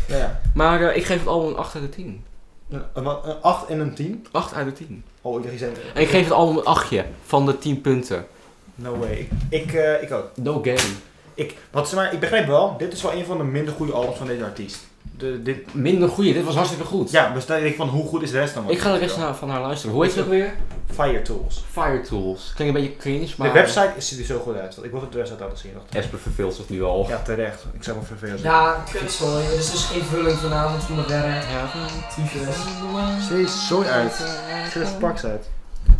Nou ja. Maar eh, ik geef het album een 8 uit de 10. Een, een 8 en een 10. 8 uit de 10. Oh, ik dacht, je zei... En ik geef het album een 8 van de 10 punten. No way. Ik, ik, eh, ik ook. No game. Ik, wat ze maar, ik begrijp wel, dit is wel een van de minder goede albums van deze artiest. De, dit, Minder goeie, dit was hartstikke goed. ja, dus dan denk ik van hoe goed is de rest dan? wel? Ik ga de rest na- van haar luisteren. Hoe heet ze ook weer? Fire Tools. Fire Tools. Klinkt een beetje cringe, maar... De website ziet er zo goed uit. want Ik wilde de rest uit laten zien. dacht ik. Esper verveelt zich nu al. Ja, terecht. Ik zou me vervelen. Ja, kut sorry. Er is dus geen vulling vanavond van mijn werk. Tyfus. Ze is zo uit. Ze is paks uit.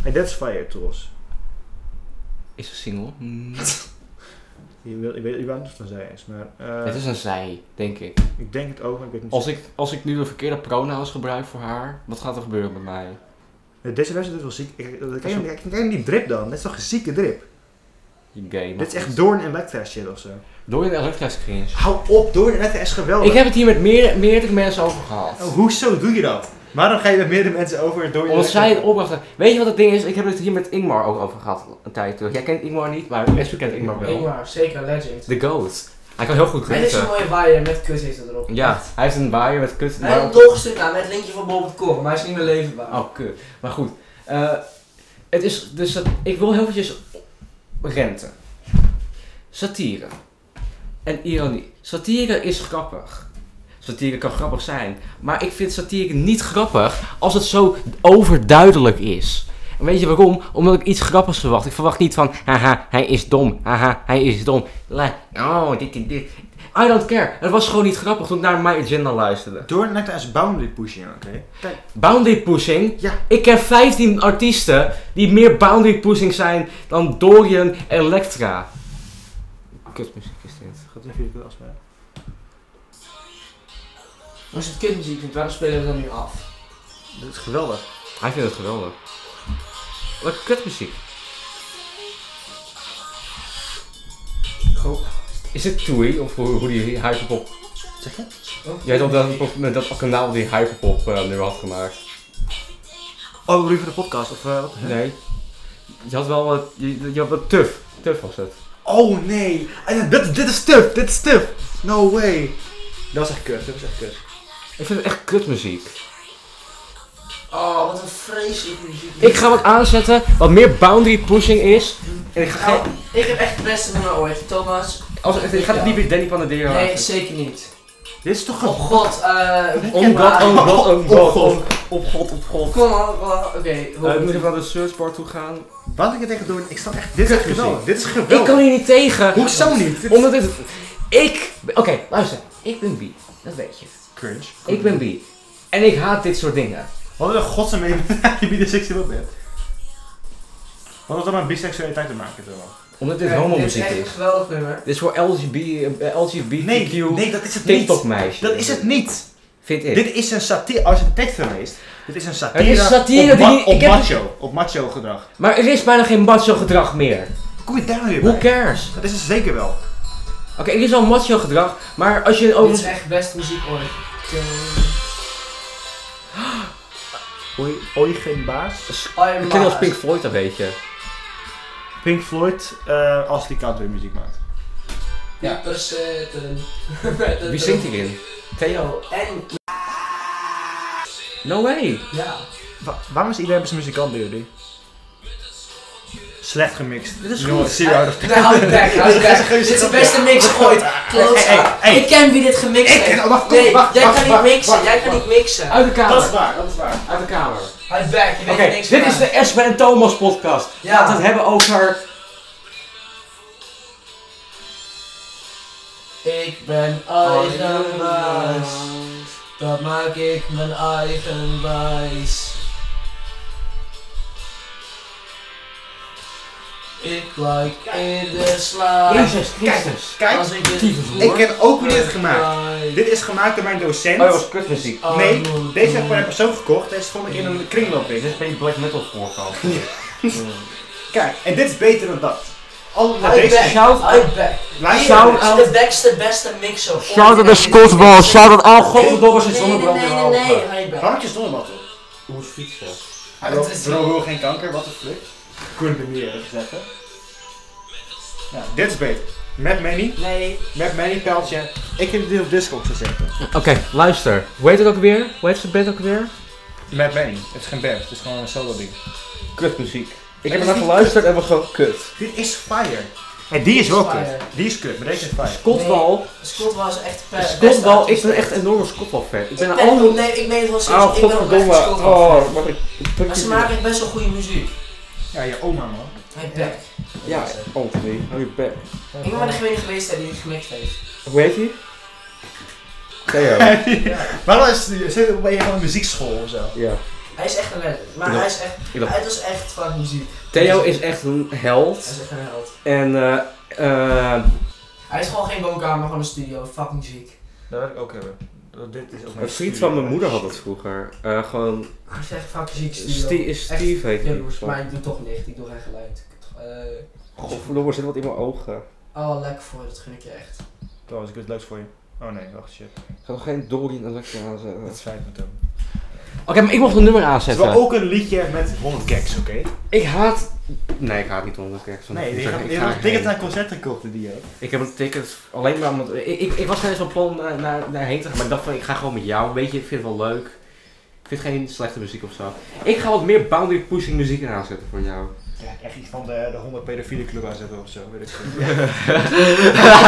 Hey, dat is Fire Tools. Is een single. Mm. Je wil, ik weet niet waar het van zij is, maar eh, Het is een zij, denk ik. ik denk het ook, maar ik weet niet Als ik, als ik nu de verkeerde pronouns gebruik voor haar, wat gaat er gebeuren met mij? zeker. Deze wedstrijd is wel ziek. Ik- ik- Kijk hem- kijk hem die drip dan. Dit is toch een zieke drip? Je Game. Dit is echt Doorn en Electra shit ofzo. Door een elektrische cringe. Hou op, Doorn en Electra is geweldig. Ik heb het hier met meer, meerdere mensen over gehad. Oh, Oh, hoezo doe je dat? Waarom ga je met meerdere mensen over door je... Omdat zij het opbrachten. Weet je wat het ding is? Ik heb het hier met Ingmar ook over gehad een tijd terug. Jij kent Ingmar niet, maar Esther kent Ingmar wel. Ingmar, zeker legend. The Goat. Hij kan heel goed Hij heeft een kutsen. mooie waaier met kut is erop. Ja, hij heeft een waaier met kut. Hij Maar heeft nog een stuk aan met het linkje van Bob het Kor, maar hij is niet meer levenbaar. Oh, kut. Maar goed. eh, het is dus dat... Ik wil heel eventjes rente. Satire. En ironie. Satire is grappig. Satire kan grappig zijn. Maar ik vind satire niet grappig als het zo overduidelijk is. En weet je waarom? Omdat ik iets grappigs verwacht. Ik verwacht niet van, haha, hij is dom. Haha, hij is dom. La- oh, dit, dit, dit. I don't care. Het was gewoon niet grappig toen ik naar My Agenda luisterde. Door en Electra is boundary pushing, oké? Kijk, Boundary pushing? Ja. Ik ken 15 artiesten die meer boundary pushing zijn dan Dorian en Elektra. Kutmuziek is dit. gaat even jullie afspelen. Als je het kutmuziek vindt, waarom spelen we dan nu af? Dat is geweldig. Hij vindt het geweldig. Wat kutmuziek. Oh, Is dit Tui of hoe, hoe die hyperpop... zeg je? Jij had dat, dat, dat kanaal die hyperpop eh, nu had gemaakt. Oh, bedoel je voor de podcast of eh, wat? Nee. Je had wel wat... Je, je had wat tuf. Tuf was het. Oh nee! Ah, ja, dit, dit is stuff, dit is stuff! No way! Dat was echt kut, dat was echt kut. Ik vind het echt kutmuziek. Oh, wat een vreselijk muziek. Ik ga wat aanzetten wat meer boundary pushing is. En ik ga, Nou, geen- ik heb echt het beste nummer ooit. Thomas, als, ik ga het niet weer Danny Panadero nee, aanzetten. zeker niet. Dit is toch Oh god, eh... Om Oh, god, om god, om Oh, god, God. om- op god, op god. Kom maar, maar- oké. Eh, hoe- Ik moet even naar de searchbar toe gaan. Wat ik er tegen doen, ik sta echt... Dit is echt Kutmuziek. geweldig, dit is Ik kan geweldig. hier niet tegen. Hoezo niet? Dit is Omdat het... Ik... Oké, luister. Ik ben bi. Dat weet je. cringe. Ik ben bi. En ik haat dit soort dingen. Wat een godsnaam mee je biseksueel bent. Wat had dat met biseksualiteit te maken, dan? Omdat dit Kijk, homo-muziek Dit is. is echt een geweldig nummer. Dit is voor LGB, eh, LGBTQ Nee, nee, dat is het niet. TikTok-meisje. Dat is het niet. Vind ik. Dit is een satire. Als je de tekst leest, dit is een satire, Het is satire op, die ma- niet- op ik heb het- macho, op macho gedrag. Maar er is bijna geen macho gedrag meer. Hoe kom je daar nou weer Who bij? cares? Dat is het zeker wel. Oké, er is al macho gedrag, maar als je Dit is over... echt best muziek ooit. Oei, oei geen baas. Het klinkt als Pink Floyd, dat weet je. Pink Floyd, eh, als die country muziek maakt. Ja, eh, per se. Wie zingt hierin? Theo. En No way. Ja. Wa- waarom is iedereen zijn muzikant bij jullie? Slecht gemixt. Dit is Nul- goed. Zero out of Nee, hou je bek, hou je bek. Nou, Dit is de beste mix ooit. Hey, hey, Klootzak. hey. Ik ken wie dit gemixt Ik- oh, heeft. wacht, kom, Nee, wacht, jij wacht, kan niet wacht, mixen. wacht, Jij kan niet mixen. Uit de Dat is kamer. waar, dat is waar. Uit de kamer. Hou je bek, je Oké, weet er niks dit van. is de Esme en Thomas podcast. Ja. Laten we het hebben over... Ik ben eigen baas. Dat maak ik mijn eigen wijs. Ik luik in de slaap. Jezus Christus. Kijk, ik dit tyfus, voel, ik ken ook wie dit ben heeft gemaakt. ik Dit is gemaakt door mijn docent. Oh, dat was kutmuziek. arm. nee, deze heb ik van een persoon gekocht. Deze vond ik in een Dit kringloopwinkel. is geen black metal voorkant. Kijk, en dit is beter dan dat. Alle naar Uit deze. bek, Shout out- uit bek. Luister. Shout Hier is out- de beste, beste mixer. ooit. out Oh, al godverdomme Nee, zit nee, zonnebrand in nee, mijn nee, nee, ogen. uit bek. Waarom heb je zonnebatten? Hoe is fietsen? Hij Het wil is- wil geen kanker, wat een flip. Kunnen we meer even zeggen. Ja, dit is beter. Met Manny, Nee, met Manny pijltje. Ik heb dit op Discord gezeten. Oké, luister. Hoe heet het ook weer? Hoe heet zijn band ook weer? Met Manny, het is geen band, het is gewoon een solo ding. Kutmuziek. Ik heb heb er er naar naar geluisterd en was gewoon kut. Dit is fire. Hey, die is wel kut. Fire. Die is kut, maar deze is fire. Scottbal. Scott was echt Eh, per. Scottbal. Ik ben echt een enorme Scottbal fan. Ik ben een Nee, ander... nee, ik meen het wel serieus. Oh, ik ben ook echt een godverdomme. Scott Ball. Oh, wat ik... Maar ze maken echt best wel goede muziek. Ja, je oma man. Hij bek. Ja, Anthony. Oh, Hou je bek. Ik ben maar degene geweest die het gemixt heeft. Hoe heet hij? Theo. Waarom is die- zit hij op een van de muziekschool of zo? Ja. Hij is echt een legend. Maar Ja. hij is echt, Ik dacht- hij was echt van muziek. Theo is echt een Hij held. is echt een held. En eh... eh Hij is gewoon geen woonkamer, maar gewoon een studio. Fucking ziek. Dat wil ik ook hebben. Dit is ook een vriend van mijn moeder had dat vroeger. Eh, gewoon... Hij is echt fucking ziek Steve, studio. Steve heet Echt, hij. jongens, maar ik doe toch licht. Ik doe geen geluid. Eh, Godverdomme, er zit wat in mijn ogen. oh, lekker voor je, dat gun ik je echt. Trouwens, ik heb iets leuks voor je. Oh nee, wacht shit. Ik ga nog geen Dory in Elektra aanzetten. Dat Oké, spijt me toen. maar ik mocht een nummer Het is wel aanzetten. ook een liedje met 100 gags, oké? Ik haat... Nee, ik haat niet onder kerk. Nee, je ik, hebt ik, ga een ticket erheen. naar concert gekocht die hè? ik heb een ticket alleen maar omdat... Ik, ik, ik was geen eens van plan naar, naar, daarheen te gaan, maar ik dacht van ik ga gewoon met jou. Weet je, ik vind het wel leuk. Ik vind geen slechte muziek of zo. Ik ga wat meer boundary pushing muziek in aanzetten voor jou. Ja, echt iets van de, de 100 pedofiele club aanzetten of zo, weet ik veel.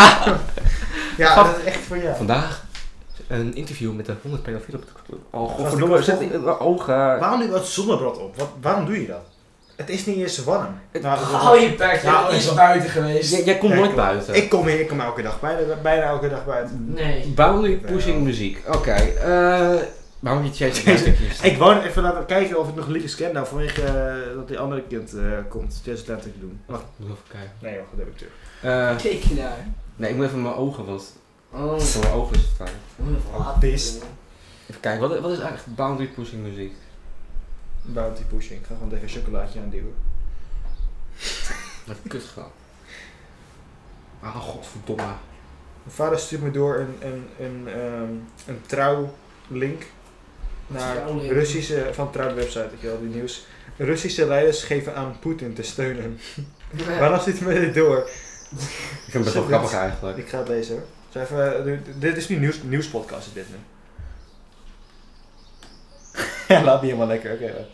ja, dat is echt voor jou. Vandaag een interview met de 100 pedofielen op de club. Oh, ik godverdomme, was zet toch- in mijn ogen. Waarom doe je dat zonnebrand op? Wat, waarom doe je dat? Het is niet eens warm. Het- Oh, Nou, dat is- Hou je bek, Ja, jij ik- is buiten geweest. Jij, jij komt Ja, nooit klopt. buiten. Ik kom hier, ik kom elke dag bijna, bijna elke dag buiten. Nee. Boundary pushing muziek. Oké, eh... Waarom je Chase Deze- Atlantic Ik wou even laten kijken of ik nog liedjes ken, nou vanwege eh, dat die andere kind eh, komt. Jazz Atlantic doen. Wacht, Moet even kijken. nee joh, dat heb ik terug. Eh, Kijk je naar. nee, ik moet even mijn ogen, want Oh, voor mijn ogen is het fijn. wat Beest. Even kijken, wat, wat is eigenlijk boundary pushing muziek? Bounty pushing, ik ga gewoon tegen een chocolaatje aanduwen. Dat kut gewoon. Ah, godverdomme. Mijn vader stuurt me door een, een, een, ehm, een trouwlink naar Trouwlink. Russische, van trouwwebsite, ik wel die nieuws. Russische leiders geven aan Poetin te steunen. Waarom zit me dit door? Ik vind het best wel Zit grappig dit? eigenlijk. Ik ga het lezen hoor. Zo even, eh, dit- dit is nu nieuws, nieuwspodcast is dit nu. ja, laat me helemaal lekker, oké.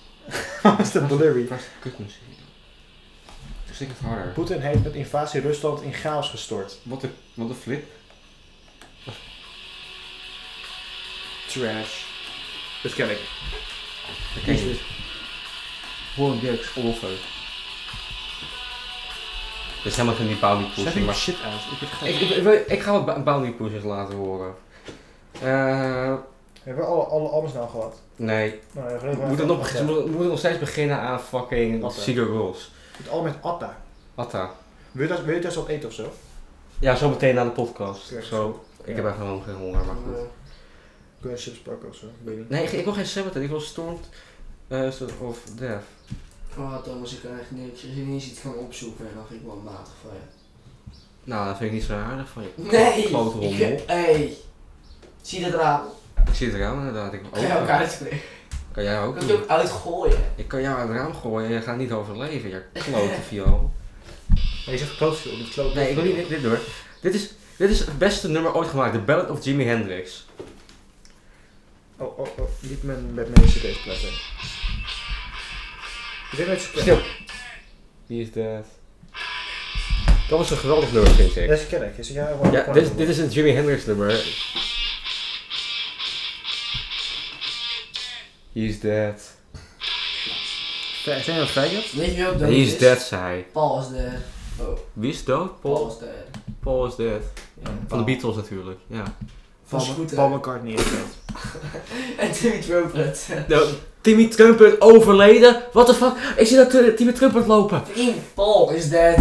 Wat is dat blurry? Kut muziek. Dus ik het harder. Poetin heeft met invasie Rusland in chaos gestort. Wat een, wat een flip. Trash. Dat ken ik. Dat ken je niet. Gewoon Dirk's Olver. Dat is helemaal geen die boundary Zet pushing, die maar... shit uit. Ik heb geen... Ik, ik, ik, ik ga wat ba- boundary pushers laten horen. Eh... Hebben we alle, alle albums nou gehad? Nee, Nou, ja, we moeten nog, we moeten- we moeten nog steeds beginnen aan fucking Atta. Sigur Rolls. Het al met Atta. Wat dan? Wil je dat, wil je dat wat eten of zo? Ja, zo meteen na de podcast. Oké. Zo. Ik heb Ja. echt gewoon geen Oh, honger, maar goed. Kun je chips pakken of zo? Weet niet. Nee, ik, ik wil geen Sabbath, ik wil Stormed eh, Storm of Death. Oh, Thomas, ik kan echt niks. Als je niet eens iets kan opzoeken, dan vind ik wel matig van je. Nou, dat vind ik niet zo aardig van je. Nee! Klote Oh, rommel. Ik- Hey! Zie je dat raam? Ik zie het raam inderdaad. Ik Kan je ook uitspringen? Kan jij ook Kan je doen. ook uitgooien? Ik kan jou uit het raam gooien en je gaat niet overleven, je klote viool. Nee, je zegt klootviool, niet kloot. Nee, ik wil niet dit, dit door. Dit is, dit is het beste nummer ooit gemaakt, The Ballad of Jimi Hendrix. Oh, oh, oh. Niet mijn, met mijn cd's platen. Dit met Stil. Skellig. Wie is dat? Dat was een geweldig nummer, vind Dat ik. is Skellig. Is ja, wel- Ja, dit, is- dit is een Jimi Hendrix nummer. He's dead. Zijn we een faggot? Weet je wie ook dood He's is? dead, zei hij. Paul is dead. Oh, Wie is dood? Paul Paul? is dead. Paul is dead. Ja. Van de Beatles natuurlijk, ja. Van Paul- Scooter. Paul McCartney is dood. En Timmy Trumpet. Nou, Timmy Trumpet overleden? What the fuck? Ik zie dat eh, Timmy Trumpet lopen. Vriend, Paul is dead.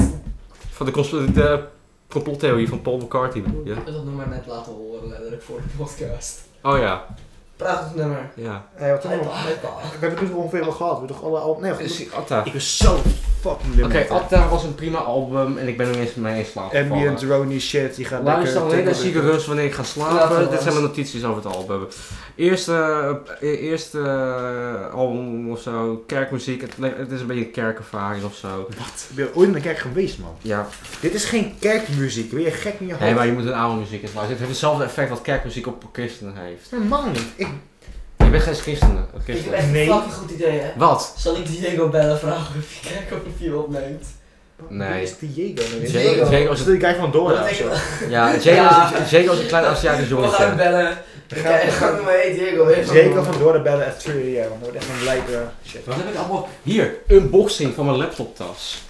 Van de, cons- de complottheorie van Paul McCartney. Ik Ja. heb dat nummer net laten horen, letterlijk voor de podcast. Oh ja, Prachtig nummer. ja. Nee, wat Hi, doen we? Paul. Hi, Paul. We hebben het dus ongeveer wel gehad. We hebben toch alle al... Nee, goed. Is- Atta. Ik was zo fucking Oké, lim. Atta was een prima album en ik ben ineens mee in slaap ambient gevallen. drony shit. Die gaat Luister lekker... alleen naar zieke rust wanneer ik ga Laten we slapen. Dit zijn luisteren. mijn notities over het album. Eerste, eh, eerste eh, album of zo, kerkmuziek. Het, le- het is een beetje een kerkervaring of zo. Ben je ooit in de kerk geweest, man? Ja, Dit is geen kerkmuziek. Ben je gek in je hoofd? hey, maar je moet een oude muziek eens luisteren. Het heeft hetzelfde effect wat kerkmuziek op christenen heeft. Helemaal niet. Ik... Je bent geen christenen. een Ik heb christen. echt Nee. een fucking goed idee, hè. Wat? Zal ik Diego bellen vragen of je kijkt of je opneemt? Nee. Wie is Diego nou weer? Jago Jago Is is dat een, die guy van Dora Wat of zo? denk ja, Jago is, Jago is een klein Aziatisch We gaan hem jongetje. bellen. Ik ga ik ga hem maar hey Diego. even. Jago van Dora bellen at 3 jaar. Want dat wordt echt een lijpe shit. Wat heb ik allemaal? Hier, unboxing van mijn laptoptas.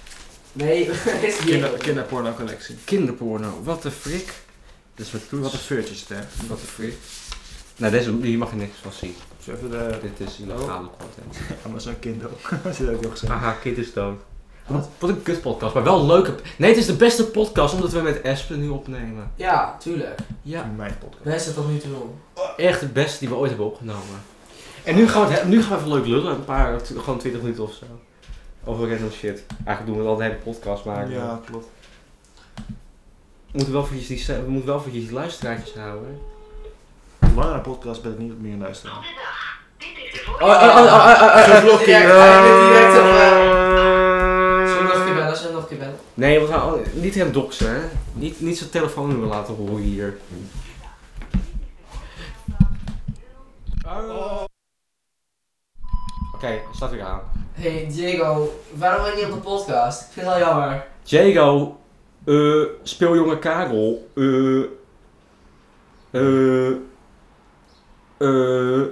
Nee, dat is Diego. Kinder, kinderporno collectie. Kinderporno, wat de frik. Dus Dit is met Wat toets, een feurtje is het, hè? wat de frik. Nou, deze, hier mag je niks van zien. Zo even de... Dit is illegale content. Amazon kind ook. Dat zit ook nog zo. Oh. Haha, kind is dood. Wat, wat een kut podcast, maar wel een leuke... Nee, het is de beste podcast omdat we met Espen nu opnemen. Ja, tuurlijk. Ja, Mijn podcast. Wij zitten tot nu toe doen. echt de beste die we ooit hebben opgenomen. En nu gaan we, het- nu gaan we even leuk lullen, een paar, t- gewoon 20 minuten of zo. Over random shit. Eigenlijk doen we wel de hele podcast, maar... eh, Ja, klopt. We moeten wel voor die, we moeten wel voor die luisteraartjes houden. Langere podcast ben ik niet meer aan het luisteren. Oh, oh, oh, oh, oh, oh, oh. Geblokkeerd. Direct, direct op, Zullen we nog een keer bellen? Zullen we nog een keer bellen? Nee, we gaan oh, niet hem doxen, hè? Niet, niet zijn telefoonnummer laten horen hier. Oh. Oké, staat weer aan. Hey Diego, waarom ben je niet op de podcast? Ik vind het al jammer. Jago, eh, speeljongen Karel, eh, eh, eh,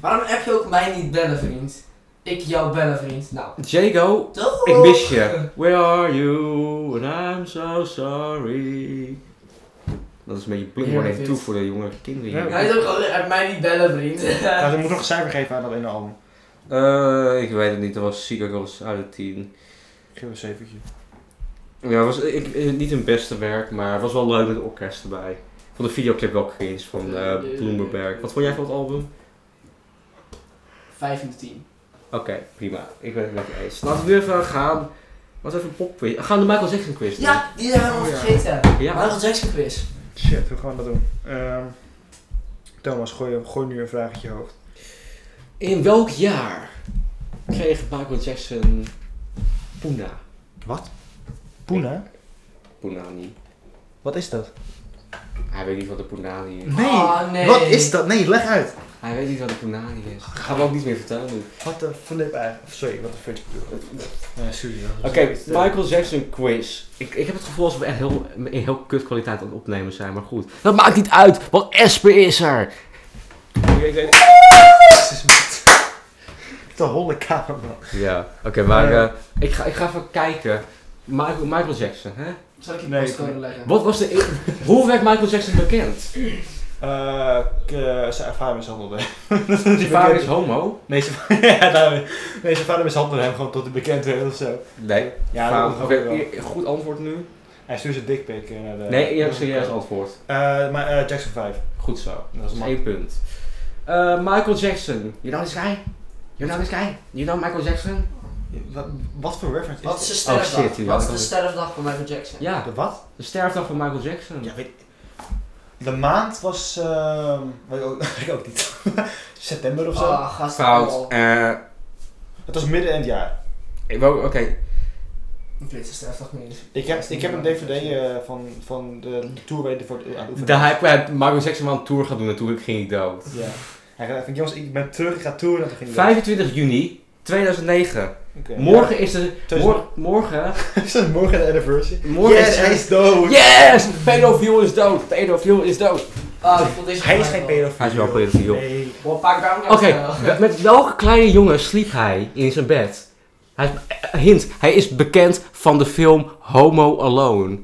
Waarom heb je ook mij niet bellen, vriend? Ik jou bellen, vriend. Nou, Jago, toch? ik mis je. Where are you? And I'm so sorry. Dat is een beetje blink Heerlijk worden dit. toe voor de jonge kinderen hier. Hij is ook gewoon, eh, mij niet bellen, vriend. Nou, ze moeten nog een cijfer geven aan dat ene album. Eh, ik weet het niet, dat was Secret uit de 10. Geef een zeventje. Ja, het was ik, eh, niet hun beste werk, maar het was wel leuk met het orkest erbij. Ik vond de videoclip wel cringe van eh Bloomberg. Wat vond jij van het album? 5 uur 10. Oké, prima. Ik ben het met je eens. Laten we nu even gaan. Laten we even een popquiz. Gaan we de Michael Jackson quiz doen? Ja, die zijn we Oh, nog ja. vergeten. Ja. Michael Jackson quiz. Shit, hoe gaan we dat doen? Ehm, Thomas, gooi, gooi nu een vraag uit je hoofd. In welk jaar kreeg Michael Jackson Puna? Poena? Punani. Wat is dat? Hij weet niet wat de Punani is. Nee. Ah, nee. Wat is dat? Nee, leg uit. Hij weet niet wat de Punani is. Dat gaan we ook niet meer vertellen nu. Wat de flip eigenlijk. Sorry, wat de flip. Uh, sorry. Oké, Michael Jackson quiz. Ik, ik heb het gevoel alsof we echt heel, in heel kut kwaliteit aan het opnemen zijn, maar goed. Dat maakt niet uit, want Esper is er! De holle cameraman. Ja, oké, maar Ja. eh, ik, ga, ik ga even kijken. Michael, Michael Jackson, hè? Zal ik je Nee, postcode leggen? Wat was de... e- Hoe werd Michael Jackson bekend? Eh, k- eh, zijn vader mishandelde hem. Zijn vader is homo? Nee, zijn, ja, daarmee. nee, zijn vader mishandelde hem gewoon tot hij bekend werd of zo. Nee. Ja, dat Oké, okay, wel. goed antwoord nu? Hij stuurde zijn dikpik eh, naar de... Nee, je hebt serieus antwoord. Eh, maar eh, Jackson 5. Goed zo. Dat Dat is is makkelijk. één punt. Eh, Michael Jackson. You know this guy? You know this guy? You know Michael Jackson? Wat, wat voor reference Wat is de Oh, shit, sterfdag? die Wat had is ik de al- sterfdag van Michael Jackson? Ja, De wat? de sterfdag van Michael Jackson. Ja, weet ik. De maand was... ehm weet ik ook, weet ik ook niet. September of zo. Ah, gast. Fout. Eh, Het was midden in het jaar. ik wou- Oké, Ik weet de sterfdag niet. Ik heb, ik heb een dvd eh, van, van de tour waar hij voor aan het oefenen Daar heb ik Michael Jackson wel een tour gaan doen en toen ging hij dood. was. Ja. Hij gaat even, jongens, ik ben terug, ik ga toeren. En toen ging hij weg. 25 juni 2009. Oké. Morgen is de... Dus- mor- morgen... Is dat morgen de anniversary? Morgen yes, is hij is dood! Yes! Pedofiel is dood! Pedofiel is dood! Ah, ik vond deze Hij is wel geen leuk. pedofiel. Hij is wel pedofiel. Nee. Wel een paar Oké, we- met welke kleine jongen sliep hij in zijn bed? Hij is, eh, hint, hij is bekend van de film Homo Alone.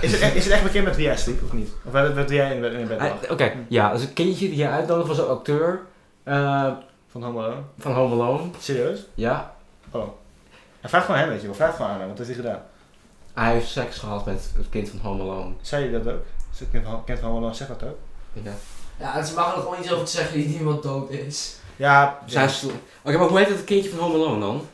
Is het, echt- is het echt bekend met wie jij sliep of niet? Of met, met wie jij in, bed- in bed Hij- lag? Oké, ja, dus een kindje die hij uitnodigde was een acteur eh, Van Homo Alone? van Home Alone. Serieus? Ja, Oh. En vraag gewoon hem, weet je wel. Vraag gewoon aan hem, wat heeft hij gedaan? hij heeft seks gehad met het kind van Home Alone. Zei je dat ook? Is het kind van, kind van Homo Alone, zeg dat ook? Ja. Ja, en ze mag er gewoon iets over te zeggen dat niemand dood is. Ja, Dus hij is- Oké, maar hoe heet dat kindje van Home Alone dan?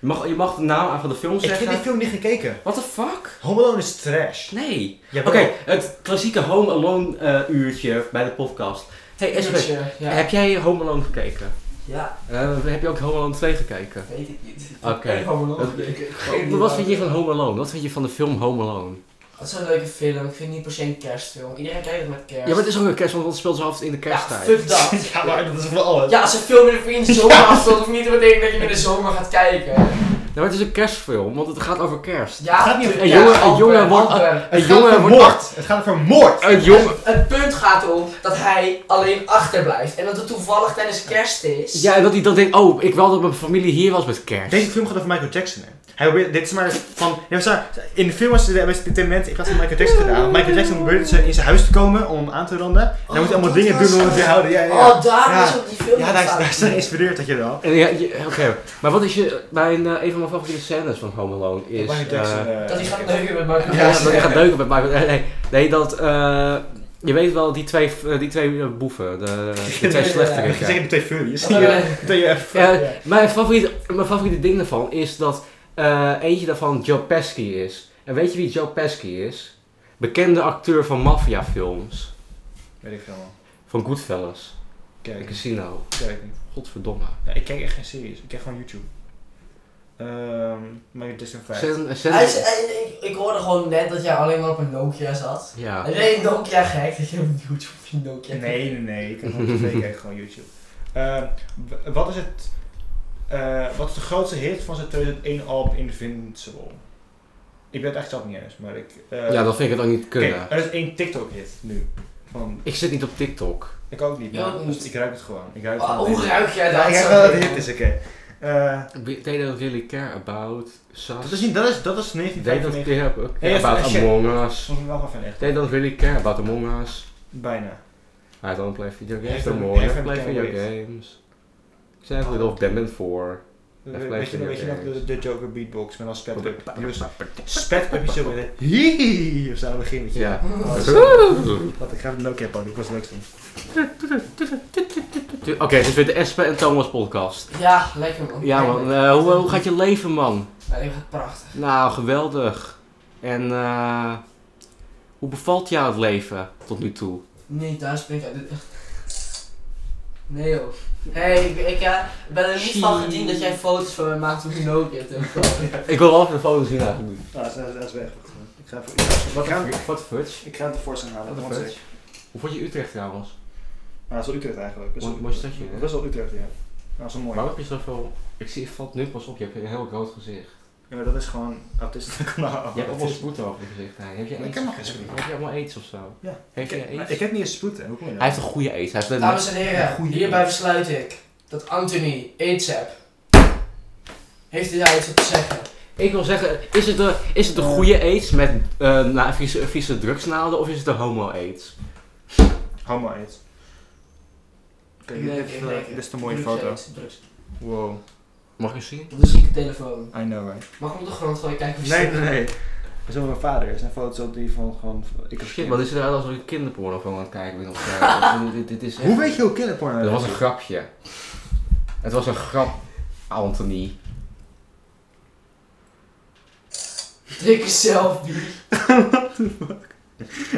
Je mag, je mag de naam aan van de film Ik heb die zeggen. film niet gekeken. What the fuck? Homo Alone is trash. Nee. Oké, Jawel. het klassieke Home Alone eh, uurtje bij de podcast. Hey, SB, Uurtje, ja. heb jij Home Alone gekeken? ja, Eh, heb je ook Home Alone 2 gekeken? weet ik niet. Oké. Ik hou me nog Dat- een beetje- Wat vind je van Home Alone? Wat vind je van de film Home Alone? Dat is een leuke film. Ik vind het niet per se een kerstfilm. Iedereen kijkt het met kerst. Ja, maar het is ook een kerst, want dat speelt ze altijd in de kersttijd. Ja, fuck dat. ja, maar dat is voor alles. Ja, als een film in de vrienden zomer afstond, hoeft niet te betekenen dat je in de zomer gaat kijken. Ja, maar het is een kerstfilm, want het gaat over kerst. Ja, gaat niet om- tuurlijk, een ja, jongen- een amper, jongen wordt- amper. Het Een gaat jongen over wordt- moord! Het gaat over moord! Een jongen... Het punt gaat erom dat hij alleen achterblijft. En dat het toevallig tijdens kerst is. Ja, en dat hij dan denkt, oh, ik wou dat mijn familie hier was met kerst. Deze film gaat over Michael Jackson. Hè. Hij probeert, dit is maar van. Ja, maar in de film was het best temperament in plaats van Michael Jackson gedaan. Want Michael Jackson probeert ze in zijn huis te komen om hem aan te randen. En hij moet Oh, allemaal dat dingen was doen om hem het. te houden. Ja, ja, ja. Oh, daar Ja. is ook die film Ja, daar is, ontstaan. daar is hij geïnspireerd, dat je wel. En ja, je- Oké, maar wat is je... Mijn, eh, een van mijn favoriete scènes van Home Alone is... Michael Jackson. eh, eh, Dat hij gaat neuken met Michael ja, Jackson. dat hij gaat neuken met Michael... Nee, nee, nee, dat... eh, je weet wel, die twee, eh, die twee eh, boeven, de, de twee Ja, Ik slechteriken. zeg de twee furries. Ja. Ja, Twee, eh, fuck, Eh, ja. Mijn favoriete, mijn favoriete ding daarvan is dat eh, eentje daarvan Joe Pesci is. En weet je wie Joe Pesci is? Bekende acteur van maffiafilms. Weet ik veel man. Van Goodfellas. Kijk, En ik Casino. kijk niet. Godverdomme. Ja, ik kijk echt geen series. Ik kijk gewoon YouTube. Ehm, Michael Jackson 5. Zet, zet- Hij is- hij- ik, ik hoorde gewoon net dat jij alleen maar op een Nokia zat. ja. En jij een Nokia gek, dat je op YouTube op je Nokia Nee, nee, nee. Ik kan gewoon tv kijken, gewoon YouTube. Ehm, w- wat is het... eh, wat is de grootste hit van zijn 2001 album Invincible? Ik ben het echt zelf niet eens, maar ik... eh, ja, dat vind ik het ook niet oké, kunnen. er is één TikTok-hit nu. Van, Ik zit niet op TikTok. ik ook niet, Ja, maar dat dus moet. ik ruik het gewoon. Ik ruik het Oh, gewoon. hoe ruik jij dat? ja, ik ruik wel dat het hit is, oké. Eh, They don't really care about dat Sas. is niet... Dat is, dat is They don't 1995. care about Hey, even- about shit. Among Us. Soms wel gewoon van echt. They don't really care about Among Us. Bijna. I don't play video games Even- no more. I even play meteen video wit. games. Seven of Them and Four. Eh, Weet, blijft je, in weet je de nog de, de Joker beatbox met als spet up? Die was- Spet up is zo Ja. met een hihihi of zo aan het beginnetje. Oh, zo. Wat ik ga het leuk hebben, ik was leuk doen. Tu- Oké, dit is weer de Espen en Thomas podcast. Ja, lekker man. Ja man, eh, hoe, hoe gaat je leven man? Ja, dit gaat prachtig. Nou, geweldig. En eh, hoe bevalt jou het leven tot nu toe? Nee, daar spring ik uit de... Nee joh. hey, ik, ik, ja, ik ben er niet van gediend dat jij foto's van mij maakt op je Nokia telefoon. Ik wil wel even de foto zien eigenlijk. Nou, dat is- dat is weg. Ik ga even- Wat ik ga hem- een- Wat een fudge. Ik ga hem tevoorschijn halen. Wat een want fudge. ik- Hoe vond je Utrecht trouwens? Nou, dat is wel Utrecht eigenlijk. Dat is Mooi- wel- mooi stadje, hè? Dat is wel Utrecht, ja. Ah, Dat is wel mooi. Waarom heb je zoveel... Ik zie, het valt nu pas op, je hebt een heel groot gezicht. Ja, maar dat is gewoon autistisch kanaal. Je hebt allemaal spoed over je gezicht heen. Heb je Ik aids? heb nog geen spoed. Heb je allemaal aids of zo? Ja. Heeft je Maar aids? Ik heb niet eens spoed, hè. Hoe kom je Hij daar? heeft een goede aids. Hij heeft net- Dames en Ja, heren, goeie. hierbij versluit ik dat Anthony aids hebt. Heeft hij daar iets op te zeggen? Ik wil zeggen, is het de, is het de goede aids met eh na, vieze, vieze drugsnaalden of is het de homo-aids? Homo aids. Oké, dit- Nee, dit is ik wel- denk- dit is een mooie Drugs, foto. aids, drugs. Wow. Mag ik zien? Dat is niet de telefoon. I know, right? Mag ik op de grond gooien kijken of je Nee, stuk- nee, nee. Dat is wel mijn vader. Er zijn foto's op die van gewoon... Ik als Shit, kind. wat is er uit als ik kinderporno gewoon aan het kijken ben? Of, eh, dit, dit, dit is echt- Hoe weet je hoe kinderporno Dat was een is? grapje. Het was een grap, Anthony. Drink een selfie.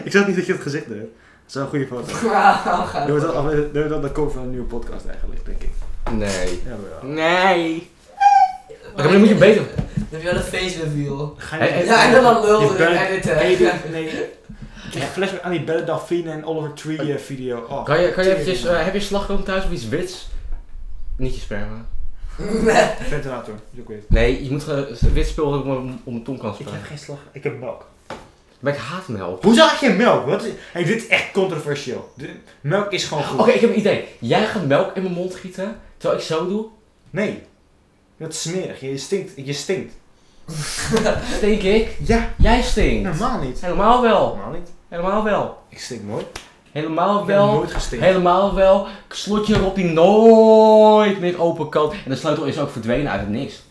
Ik zag niet dat je het gezicht deed. Dat is wel een goede foto. Wauw, Dat wordt dan- dat wordt dan de cover van een nieuwe podcast eigenlijk, denk ik. Nee. Ja, maar ja. Nee. Oké, maar dan moet je beter... Dan heb je wel een face reveal. Ga Hey, je... hey, Ja, en dan dan lul Je en bent- editen. Nee. Ik fles met aan die Bella Delphine en Oliver Tree eh, video. Oh, Kan je, kan je tering, eventjes, man. eh, heb je slagroom thuis of iets wits? Niet je sperma. Ventilator, dat is ook weer. Nee, je moet eh, wit spul hebben om, om de tong kan Ik heb sperma. geen slag. Ik heb melk. Maar ik haat melk. Hoezo had je melk? Wat is... hey, dit is echt controversieel. De- Melk is gewoon goed. Oké, ik heb een idee. Jij gaat melk in mijn mond gieten, terwijl ik zo doe. Nee. Dat is smerig. Je stinkt. Je stinkt. Stink ik? Ja, Jij stinkt. normaal niet. Helemaal wel. Normaal niet. Helemaal wel. Ik stink nooit. Helemaal Ik ben wel. nooit gestinkt. Helemaal wel. Slotje erop die nooit meer open kan. En de sleutel is ook verdwenen uit het niks.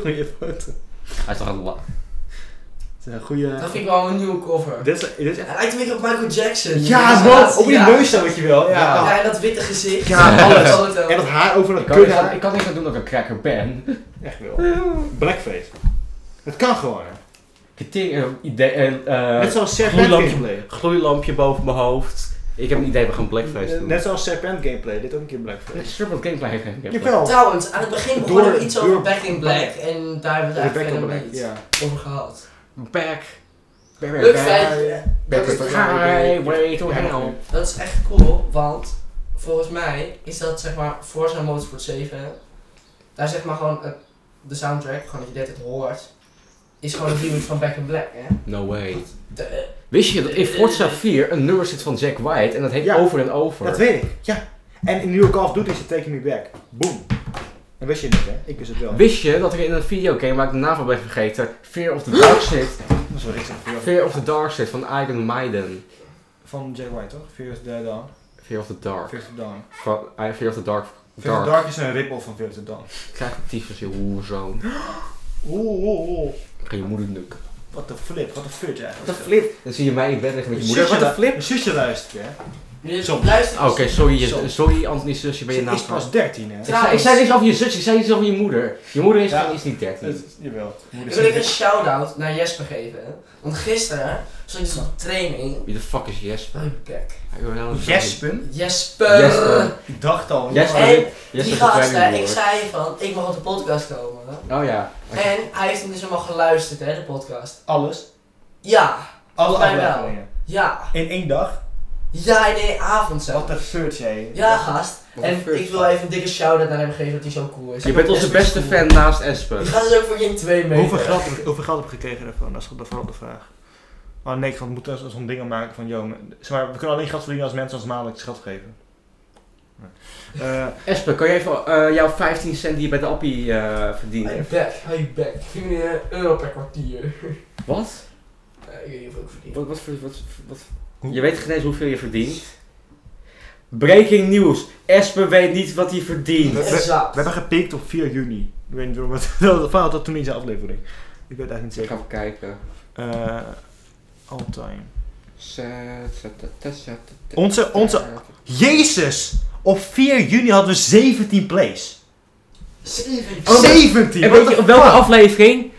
Goeie foto. Hij is toch een la- Het is een goede... Dat vind ik wel een nieuwe cover. Dit is, dit is echt... Hij lijkt een beetje op Michael Jackson. Ja, man! Op die neus dan, weet je wel. Ja. Ja, en dat witte gezicht. Ja, alles. Dat wel. En dat haar over dat Ik kan, niks kuthaar. aan, ik kan niks aan doen dat ik een cracker ben. Echt wel. Blackface. Het kan gewoon. hè. Ik ting- eh, idee, eh, Net eh, zoals serpent gloeilampje. gameplay. gloeilampje boven mijn hoofd. Ik heb een idee, we gaan blackface doen. Eh, Net zoals serpent gameplay. Dit ook een keer blackface. Serpent Gameplay heeft geen gameplay. Jawel. Trouwens, aan het begin Door- begonnen we iets door- over Back in Black. En daar hebben we De back het eigenlijk verder on nog black. niet Ja. over gehad. Back. Back, Leuk feitje. Back Dat is to de the highway highway to hell. Dat is echt cool, want volgens mij is dat zeg maar Forza Motorsport 7. Daar zeg maar gewoon het- de soundtrack, gewoon dat je dit het hoort, is gewoon een remake van Back in Black, hè? No way. De- eh, Wist je dat in Forza 4 een nummer zit van Jack White en dat heet Ja. Over en Over? Dat weet ik. Ja. En in de nieuwe Call of Duty is het Take Me Back. Boom. Dat wist je niet, hè? Ik wist het wel. Wist je dat er in een videogame waar ik de naam van ben vergeten, Fear of the Dark zit? Dat is wel ik zeg voor jou. Fear of the Dark zit van Iron Maiden. Van Jack White, toch? Fear of the Dawn. Fear of the Dark. Fear of the Dawn. Van, eh, Fear of the Dark. Fear Dark. of the Dark is een ripple van Fear of the Dawn. Krijg een tyfus, je hoerzoon. Oeh, oeh, oeh. Ga je moeder nukken. Wat een flip, wat een flirt eigenlijk. Wat een flip. Dan zie je mij in bed liggen met je moeder. Wat een flip. Mijn zusje luistert, hè? jullie Soms. luisteren- Ah, Oh, Oké, sorry, Zo. je, sorry Anthony's zusje, ben je Ze naam is pas 13, hè? Ik zei, ik zei niks over je zus, ik zei iets over je moeder. Je moeder is, Ja. is niet 13. Het- Jawel. Ik Moeder wil ik een zegt- shout-out naar Jesper geven. Want gisteren zat ik dus op training. Wie de fuck is Jesper? Mijn bek. Hij wil helemaal niet zeggen. Jespen? Jesper! Jesper. Ik dacht al. Jesper. jongen. En Jesper die is een gast, hè, training boy. ik zei van, ik mag op de podcast komen. Oh ja. En hij heeft hem dus helemaal geluisterd, hè, de podcast. Alles. Ja, Alle Mij wel. afleveringen. ja, In één dag. ja, in de avond zelf. Wat een flirt, jij. Ja, gast. Wat een En first. ik wil even een dikke shout-out naar hem geven dat hij zo cool is. Je bent onze Jesper is beste cool. fan naast Je Espen. gaat dus ook voor Game 2 mee. Hoeveel geld, heb ik- hoeveel geld heb ik gekregen daarvan? Dat is bijvoorbeeld de vraag. Oh nee, want we moeten zo- zo'n ding aan maken van, joh, zeg maar, we kunnen alleen geld verdienen als mensen ons maandelijks geld geven. Nee. Eh, Espen, kan je even eh, jouw 15 cent die je bij de appie eh, verdient? Hey back, hey back. 4 euro per kwartier. Wat? Eh, ik weet niet hoeveel ik verdien. Wat, wat, voor- wat, wat? Hoe- Je weet geen eens hoeveel je verdient. Breaking news. Espen weet niet wat hij verdient. We- we- we Exact. hebben gepikt op 4 juni. Ik weet niet waarom we dat verhaal dat toen in zijn aflevering. Ik weet het eigenlijk niet Ik ga zeker. even kijken. Eh all time. Zet, zet, zet, zet, zet. Onze, onze... Jezus! Op 4 juni hadden we 17 plays. Zeven. Oh, 17! En what weet je the op welke fuck? aflevering?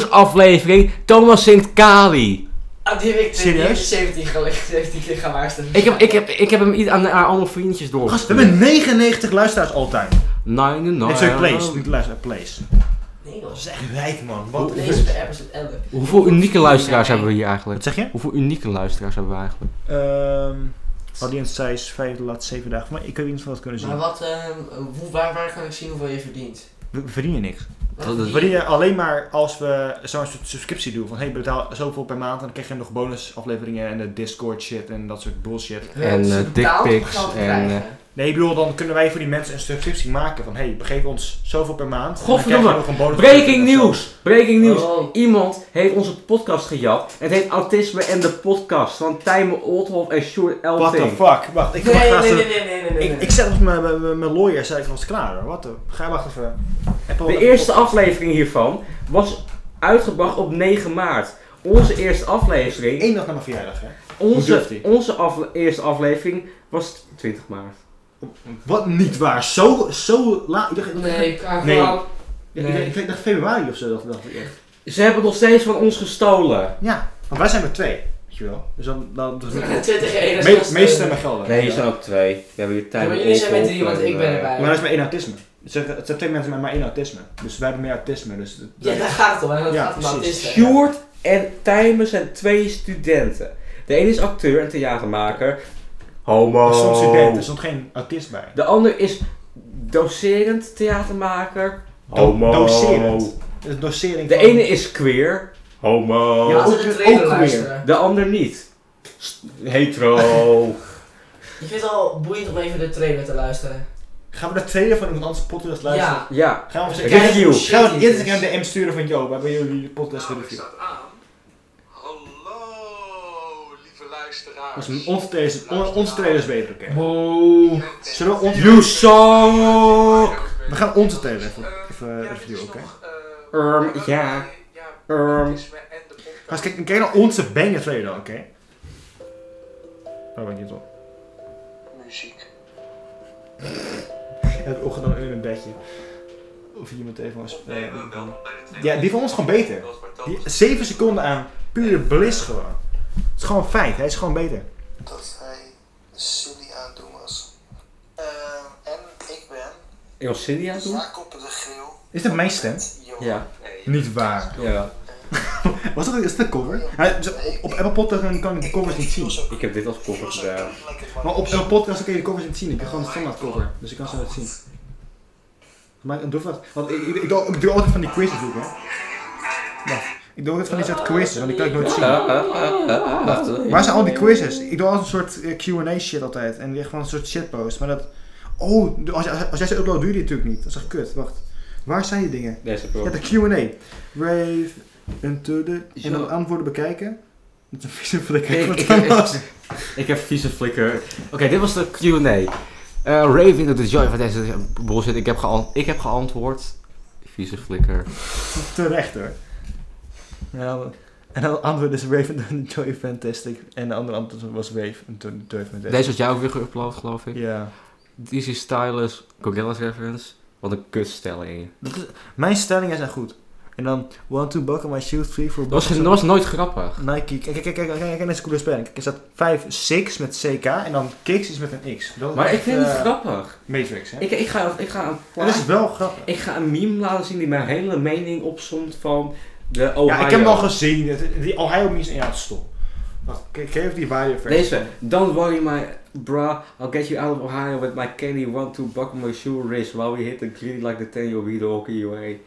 Bonusaflevering Thomas Sint Kali. Ah, die heb ik die Serieus? heb ik 17 gelegd, 17 keer gaan waarschuwen. Ik heb, ik heb, ik heb hem iets aan haar allemaal vriendjes door. Gast, we hebben 99 luisteraars all time. Nou Nee, nee, nee. Dit zijn plays, niet luisteraars, plays. Nee, dat was echt. Echt wijd man, Hoe- wat Deze is bij episode 11. Hoeveel unieke luisteraars hebben we hier Wat eigenlijk? zeg je? Hoeveel unieke luisteraars hebben we eigenlijk? Ehm audience size 5 de laatste 7 dagen. Maar ik heb niet van dat kunnen zien. Maar wat, ehm, hoe, waar, waar kan ik zien hoeveel je verdient? We we verdienen niks. Wat Dat is- We verdien je? verdienen alleen maar als we zo'n soort subscriptie doen. Van hey, betaal zoveel per maand en dan krijg je nog bonusafleveringen en de Discord shit en dat soort bullshit. Ja, En, het is eh, betaald om dickpics geld te en, krijgen. eh, Nee, ik bedoel, dan kunnen wij voor die mensen een subscriptie maken. Van hey, geef ons zoveel per maand. en dan Godverdomme. krijg je nog een bonus Breaking nieuws! Breaking nieuws! Oh. Iemand heeft onze podcast gejat. Het heet Autisme en de Podcast van Tijmen Oldhoff en Sjoerd What the Elting. fuck? Wacht, ik nee, wacht nee, even. nee, nee, nee, nee, nee. Ik, ik zet op mijn- mijn mijn- mijn lawyer, zei ik van ons klaar hoor. Wat de. Ga wacht even. Apple- De Apple- eerste aflevering hiervan was uitgebracht op 9 maart. Onze eerste aflevering, Eén dag na mijn verjaardag, hè? Hoe durft onze, hij? onze afle- eerste aflevering was 20 maart. Wat niet waar? Zo, zo laat. Ik dacht, Nee, ik ga Nee. gewoon- Ja, Nee. Ik, ik, ik dacht februari of zo, dat dacht ik echt. Ze hebben nog steeds van ons gestolen. Ja, want wij zijn met twee, weet je wel. Dus dan... dan dus me, 20 euro. meeste stemmen gelden. Nee, Ja. hier zijn ook twee. We hebben hier tijd. Ja, maar jullie zijn met drie, want ik eh, ben erbij. Maar dat is maar één autisme. Het zijn, het zijn twee mensen met maar één autisme. Dus wij hebben meer autisme, dus... het- Ja, daar gaat het om, hè. Dat Ja, gaat om precies. autisten. Sjoerd en timers en twee studenten. De ene is acteur en theatermaker. Homo. Er stond Oh. student, er stond geen autist bij. De ander is doserend theatermaker. Do- Doserend. Dus dosering De van- ene is queer. Homo. Ja, Laten we de trailer luisteren. queer. De ander niet. St- Hetero. Ik vind het al boeiend om even de trailer te luisteren. Gaan we de tweede van iemand anders podcast luisteren? Ja. ja. Gaan we Om te eens Review. kijken hoe shit Gaan we dit eerst is. een DM sturen van, yo, we hebben jullie podcast Nou, ik review. staat aan. Hallo, lieve luisteraars. Ons- Onze trailer is, on- onze trailer is beter, oké. Boe. Zullen we ons- You suck. We gaan onze trailer even, Ja, even dit is reviewen, oké? nog, eh, Ehm, ja. ja, Ehm. het is me en de podcast. Ga eens kijken, kijk naar onze banger trailer, dan, oké? Oh, ben ik niet op. Muziek. Ik heb ogen dan in mijn bedje. Of hier meteen van... Opnemen, wel bij de tweede. Ja, die van ons gewoon beter. Dat is maar dat. Die 7 seconden aan pure bliss gewoon. Het is gewoon feit, hij is gewoon beter. dat hij silly aan het doen was. Ehm, en ik ben Ilcidia doen? Jacob de Geel. Is dat mijn stem? Ja. Nee, Niet waar. Ja. Was dat is dat de cover? Hij, zo- op, op Apple Podcast kan ik de covers niet zien. eh, Ik heb dit als cover gedaan. Maar op Apple Podcast kan je de covers niet zien. Ik heb gewoon de standaard cover. Dus ik kan ze niet zien. Maar doe wat. Want ik, ik, ik doe, ik doe altijd van die quizzes ook, hè. Wacht. Ik doe altijd van die soort quizzes, want die kan ik nooit zien. Ah. eh, Waar zijn al die quizzes? Ik doe altijd een soort eh, Q&A shit altijd. En echt van een soort shitpost. Maar dat... Oh, als, jij- als jij ze uploadt, doe je die natuurlijk niet. Dat is echt kut. Wacht. Waar zijn die dingen? Deze Ja, pro. de Q&A. Rave, into the... Zo. En dan antwoorden bekijken. Dat is een vieze flikker. Ik, Wat ik, dan ik- was? ik heb vieze flikker. Oké, dit was de Q&A. Eh Rave into the joy van deze eh, bullshit. Ik heb, geant- ik heb geantwoord. Vieze flikker. Terecht hoor. Ja, maar- en dan dus antwoord is Rave en Joy Fantastic. En de andere antwoord was Rave en toen Joy Fantastic. Deze had jij ook weer geüpload, geloof ik. Ja. DC Stylus, Gorillas reference. Wat een kutstelling. Dat is, mijn stellingen zijn goed. En dan one two buckle my shoes, three for Dat was, dat was nooit grappig. Nike. Kijk, kijk, kijk, kijk, kijk, kijk deze coole spelling. Kijk, er staat 5, 6 met CK en dan kicks is met een X. Dat is Maar ik echt, vind het eh, dus- grappig. Matrix, hè? Ik, ik, ga, ik, ga een Dat is wel grappig. ik ga een meme laten zien die mijn hele mening opzomt van de Ohio. Ja, ik heb hem eh, al gezien. Het- Die oh, Ohio Means in ja, stop. Wacht, ke- geef die Wario versie. Deze. Don't worry my bra, I'll get you out of Ohio with my candy one two buckle my shoe wrist while we hit the green like the ten year we the hockey away.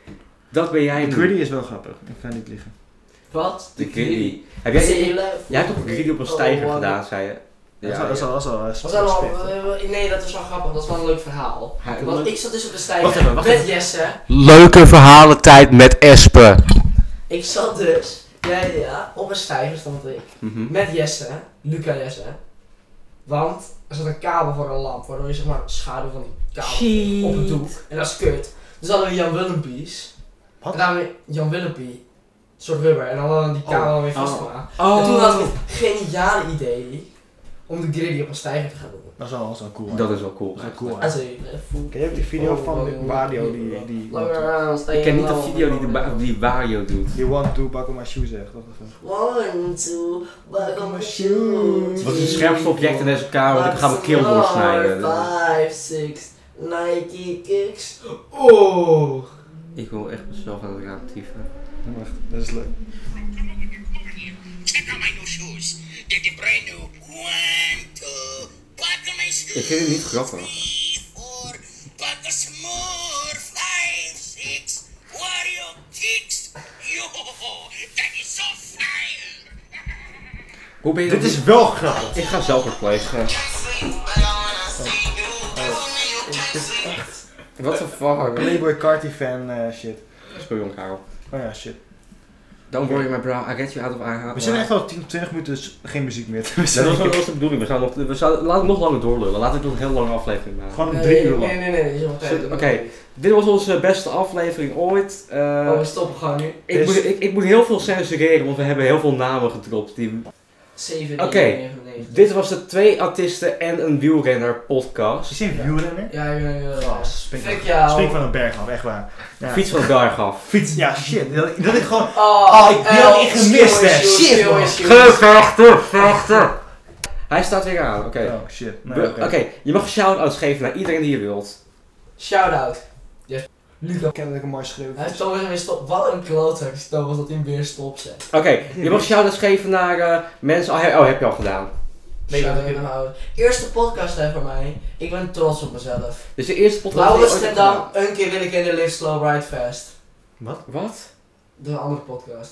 Dat ben jij De nu. Gritty is wel grappig. Ik ga niet liegen. Wat? De greedy. Heb jij, jij hebt toch een greedy op een stijger Oh, gedaan, zei je? Dat is al- dat is al- dat is al, eh, Dat is wel- respect, hè. eh, nee, dat is wel grappig. Dat is wel een leuk verhaal. Hij- Want ik zat dus op de Wacht stijger even, wacht met Jesse. Leuke verhalentijd met Espen. Ik zat dus, ja, ja, ja, op een stijger stond ik. Mhm. Met Jesse, Luca Jesse. Want er zat een kabel voor een lamp, waardoor je zeg maar schaduw van die kabel Shit. op het doek. En dat is kut. Dus hadden we Jan Willempies. Wat? En daarmee Jan Willempie, soort rubber. En dan hadden we die kabel dan weer Oh. vastgemaakt. Oh. En toen had ik het geniale idee om de griddy op een stijger te gaan doen. Dat is wel, dat is wel cool. hè. Dat is wel cool. Dat is wel cool. hè. Also, eh, oh, voel- Ken je ook die video van de Wario die... Die, Langer aan het stijgen Ik ken niet de dan- video die, de ba- die Wario doet. die one two buckle my shoes zegt. Dat is wel goed. One, two, back on my shoes. shoes. Wat is het scherpste object in deze kamer? Want ik ga mijn keel doorsnijden. 5, 6, Nike kicks. Oh. Ik wil echt mezelf aan het raam tieven. Wacht, dat is leuk. Check out my new shoes. They're the brand new. One, two, buckle my shoes. Ik vind het niet grappig. Three, four, buckle some more. Five, six, Wario kicks. Yo, that is so fire. Hoe ben je Dit is wel grappig. Ik ga zelf verplegen. What the fuck? Playboy Carti fan eh, shit. Speel jong Karel. Oh ja, shit. Don't worry my bra, I get you out of IH. We zijn echt al 10, 20 minuten dus geen muziek meer. We Dat zijn was wel eens de bedoeling. We zouden nog, we zouden, laten we nog langer doorlullen. Laten we nog een heel lange aflevering maken. gewoon om drie uur Nee, lang. nee, nee. nee, is wel tijd. Zit- oké. Dit was onze beste aflevering ooit. Eh, Oh, we stoppen gewoon nu. ik, moet, ik, ik moet heel veel censureren, want we hebben heel veel namen gedropt die 7, Oké. Dit was de Twee Artiesten en een Wielrenner Is podcast. hij een wielrenner? Ja, ik ben er wel. Gast, spreek Fuck Oh, van- jou. Spreek van een berg af, echt waar. Ja. Fiets van Berg af. Fiets, ja shit. Dat, dat ik gewoon... Ah, Oh, Oh, ik- die had ik gemist, hè. Shit, man. Gevechten, vechten! Hij staat weer aan, oké. Oh shit. We- Nee, Oké, je mag shout-outs geven naar iedereen die je wilt. Shout-out. Luca. Kennelijk een mooi schreeuw. Hij is Thomas weer stop. Wat een klootzak is Thomas dat hij hem weer stop zet. Oké, je mag shout-outs geven naar eh, mensen. Oh, he- oh, heb je al gedaan. Nee, dat heb ik ik- Eerste podcast hè, voor mij. Ik ben trots op mezelf. Dus de eerste podcast. die je Laurens ooit en hebt dan gedaan. een keer wil ik in de Live Slow Ride Fast. Wat? De andere podcast.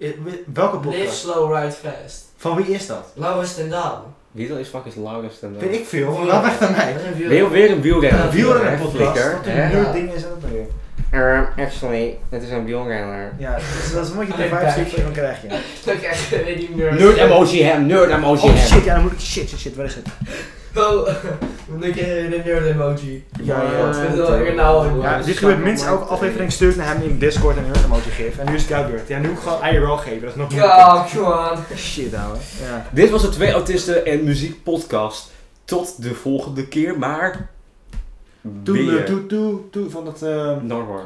I- wi- Eh, Welke Live podcast? Slow Ride Fast. Van wie is dat? Laurens ten Dam. Wie dan is fucking Laurens en dan? Weet ik veel. Laat weg aan mij. Weer, weer een wielrenner. Ja, Wielrennen Hè, podcast. flikker, Wat een hè? nieuw ding is dat nou weer? Ehm, actually, het is een wielrenner. Ja, dus dat is een beetje de Alleen vibes die bij. ik van hem krijg, ja. Dan krijg je weer die nerd. Nerd emoji hem, nerd emoji Oh hem. shit, ja, dan moet ik... Shit, shit, shit, waar is het? Oh, dan krijg je weer de nerd emoji. Oh, Ja, ja. Dat vind ik wel weer nou. Ja, dit gebeurt minstens elke aflevering stuur ik naar hem in Discord en een emoji geven. En nu is het jouw beurt. Ja, nu moet ik gewoon IRL geven, dat is nog moeilijker. Oh, come on. Shit, ouwe. Ja. Dit was de Twee Autisten en Muziek podcast. Tot de volgende keer, maar... Toe, eh, weer. toe, toe, toe, van dat... ehm, Norwar.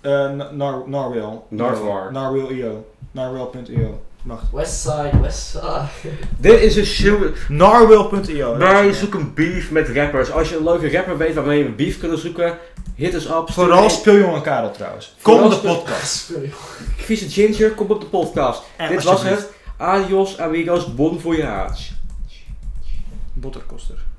Eh, Na- Nar Narwhal. Narwhal. Narwhal.io. Narwhal.io. Wacht. Westside, Westside. Dit is een show... Narwhal.io. Wij zoeken beef met rappers. Als je een leuke rapper weet waarmee we beef kunnen zoeken, hit us up. Stuur Vooral een- speeljongen Karel trouwens. Kom Vooral op de speel- podcast. Vieze Ginger, kom op de podcast. En Dit was alsjeblieft, het. Adios, amigos, bon voyage. Botterkoster.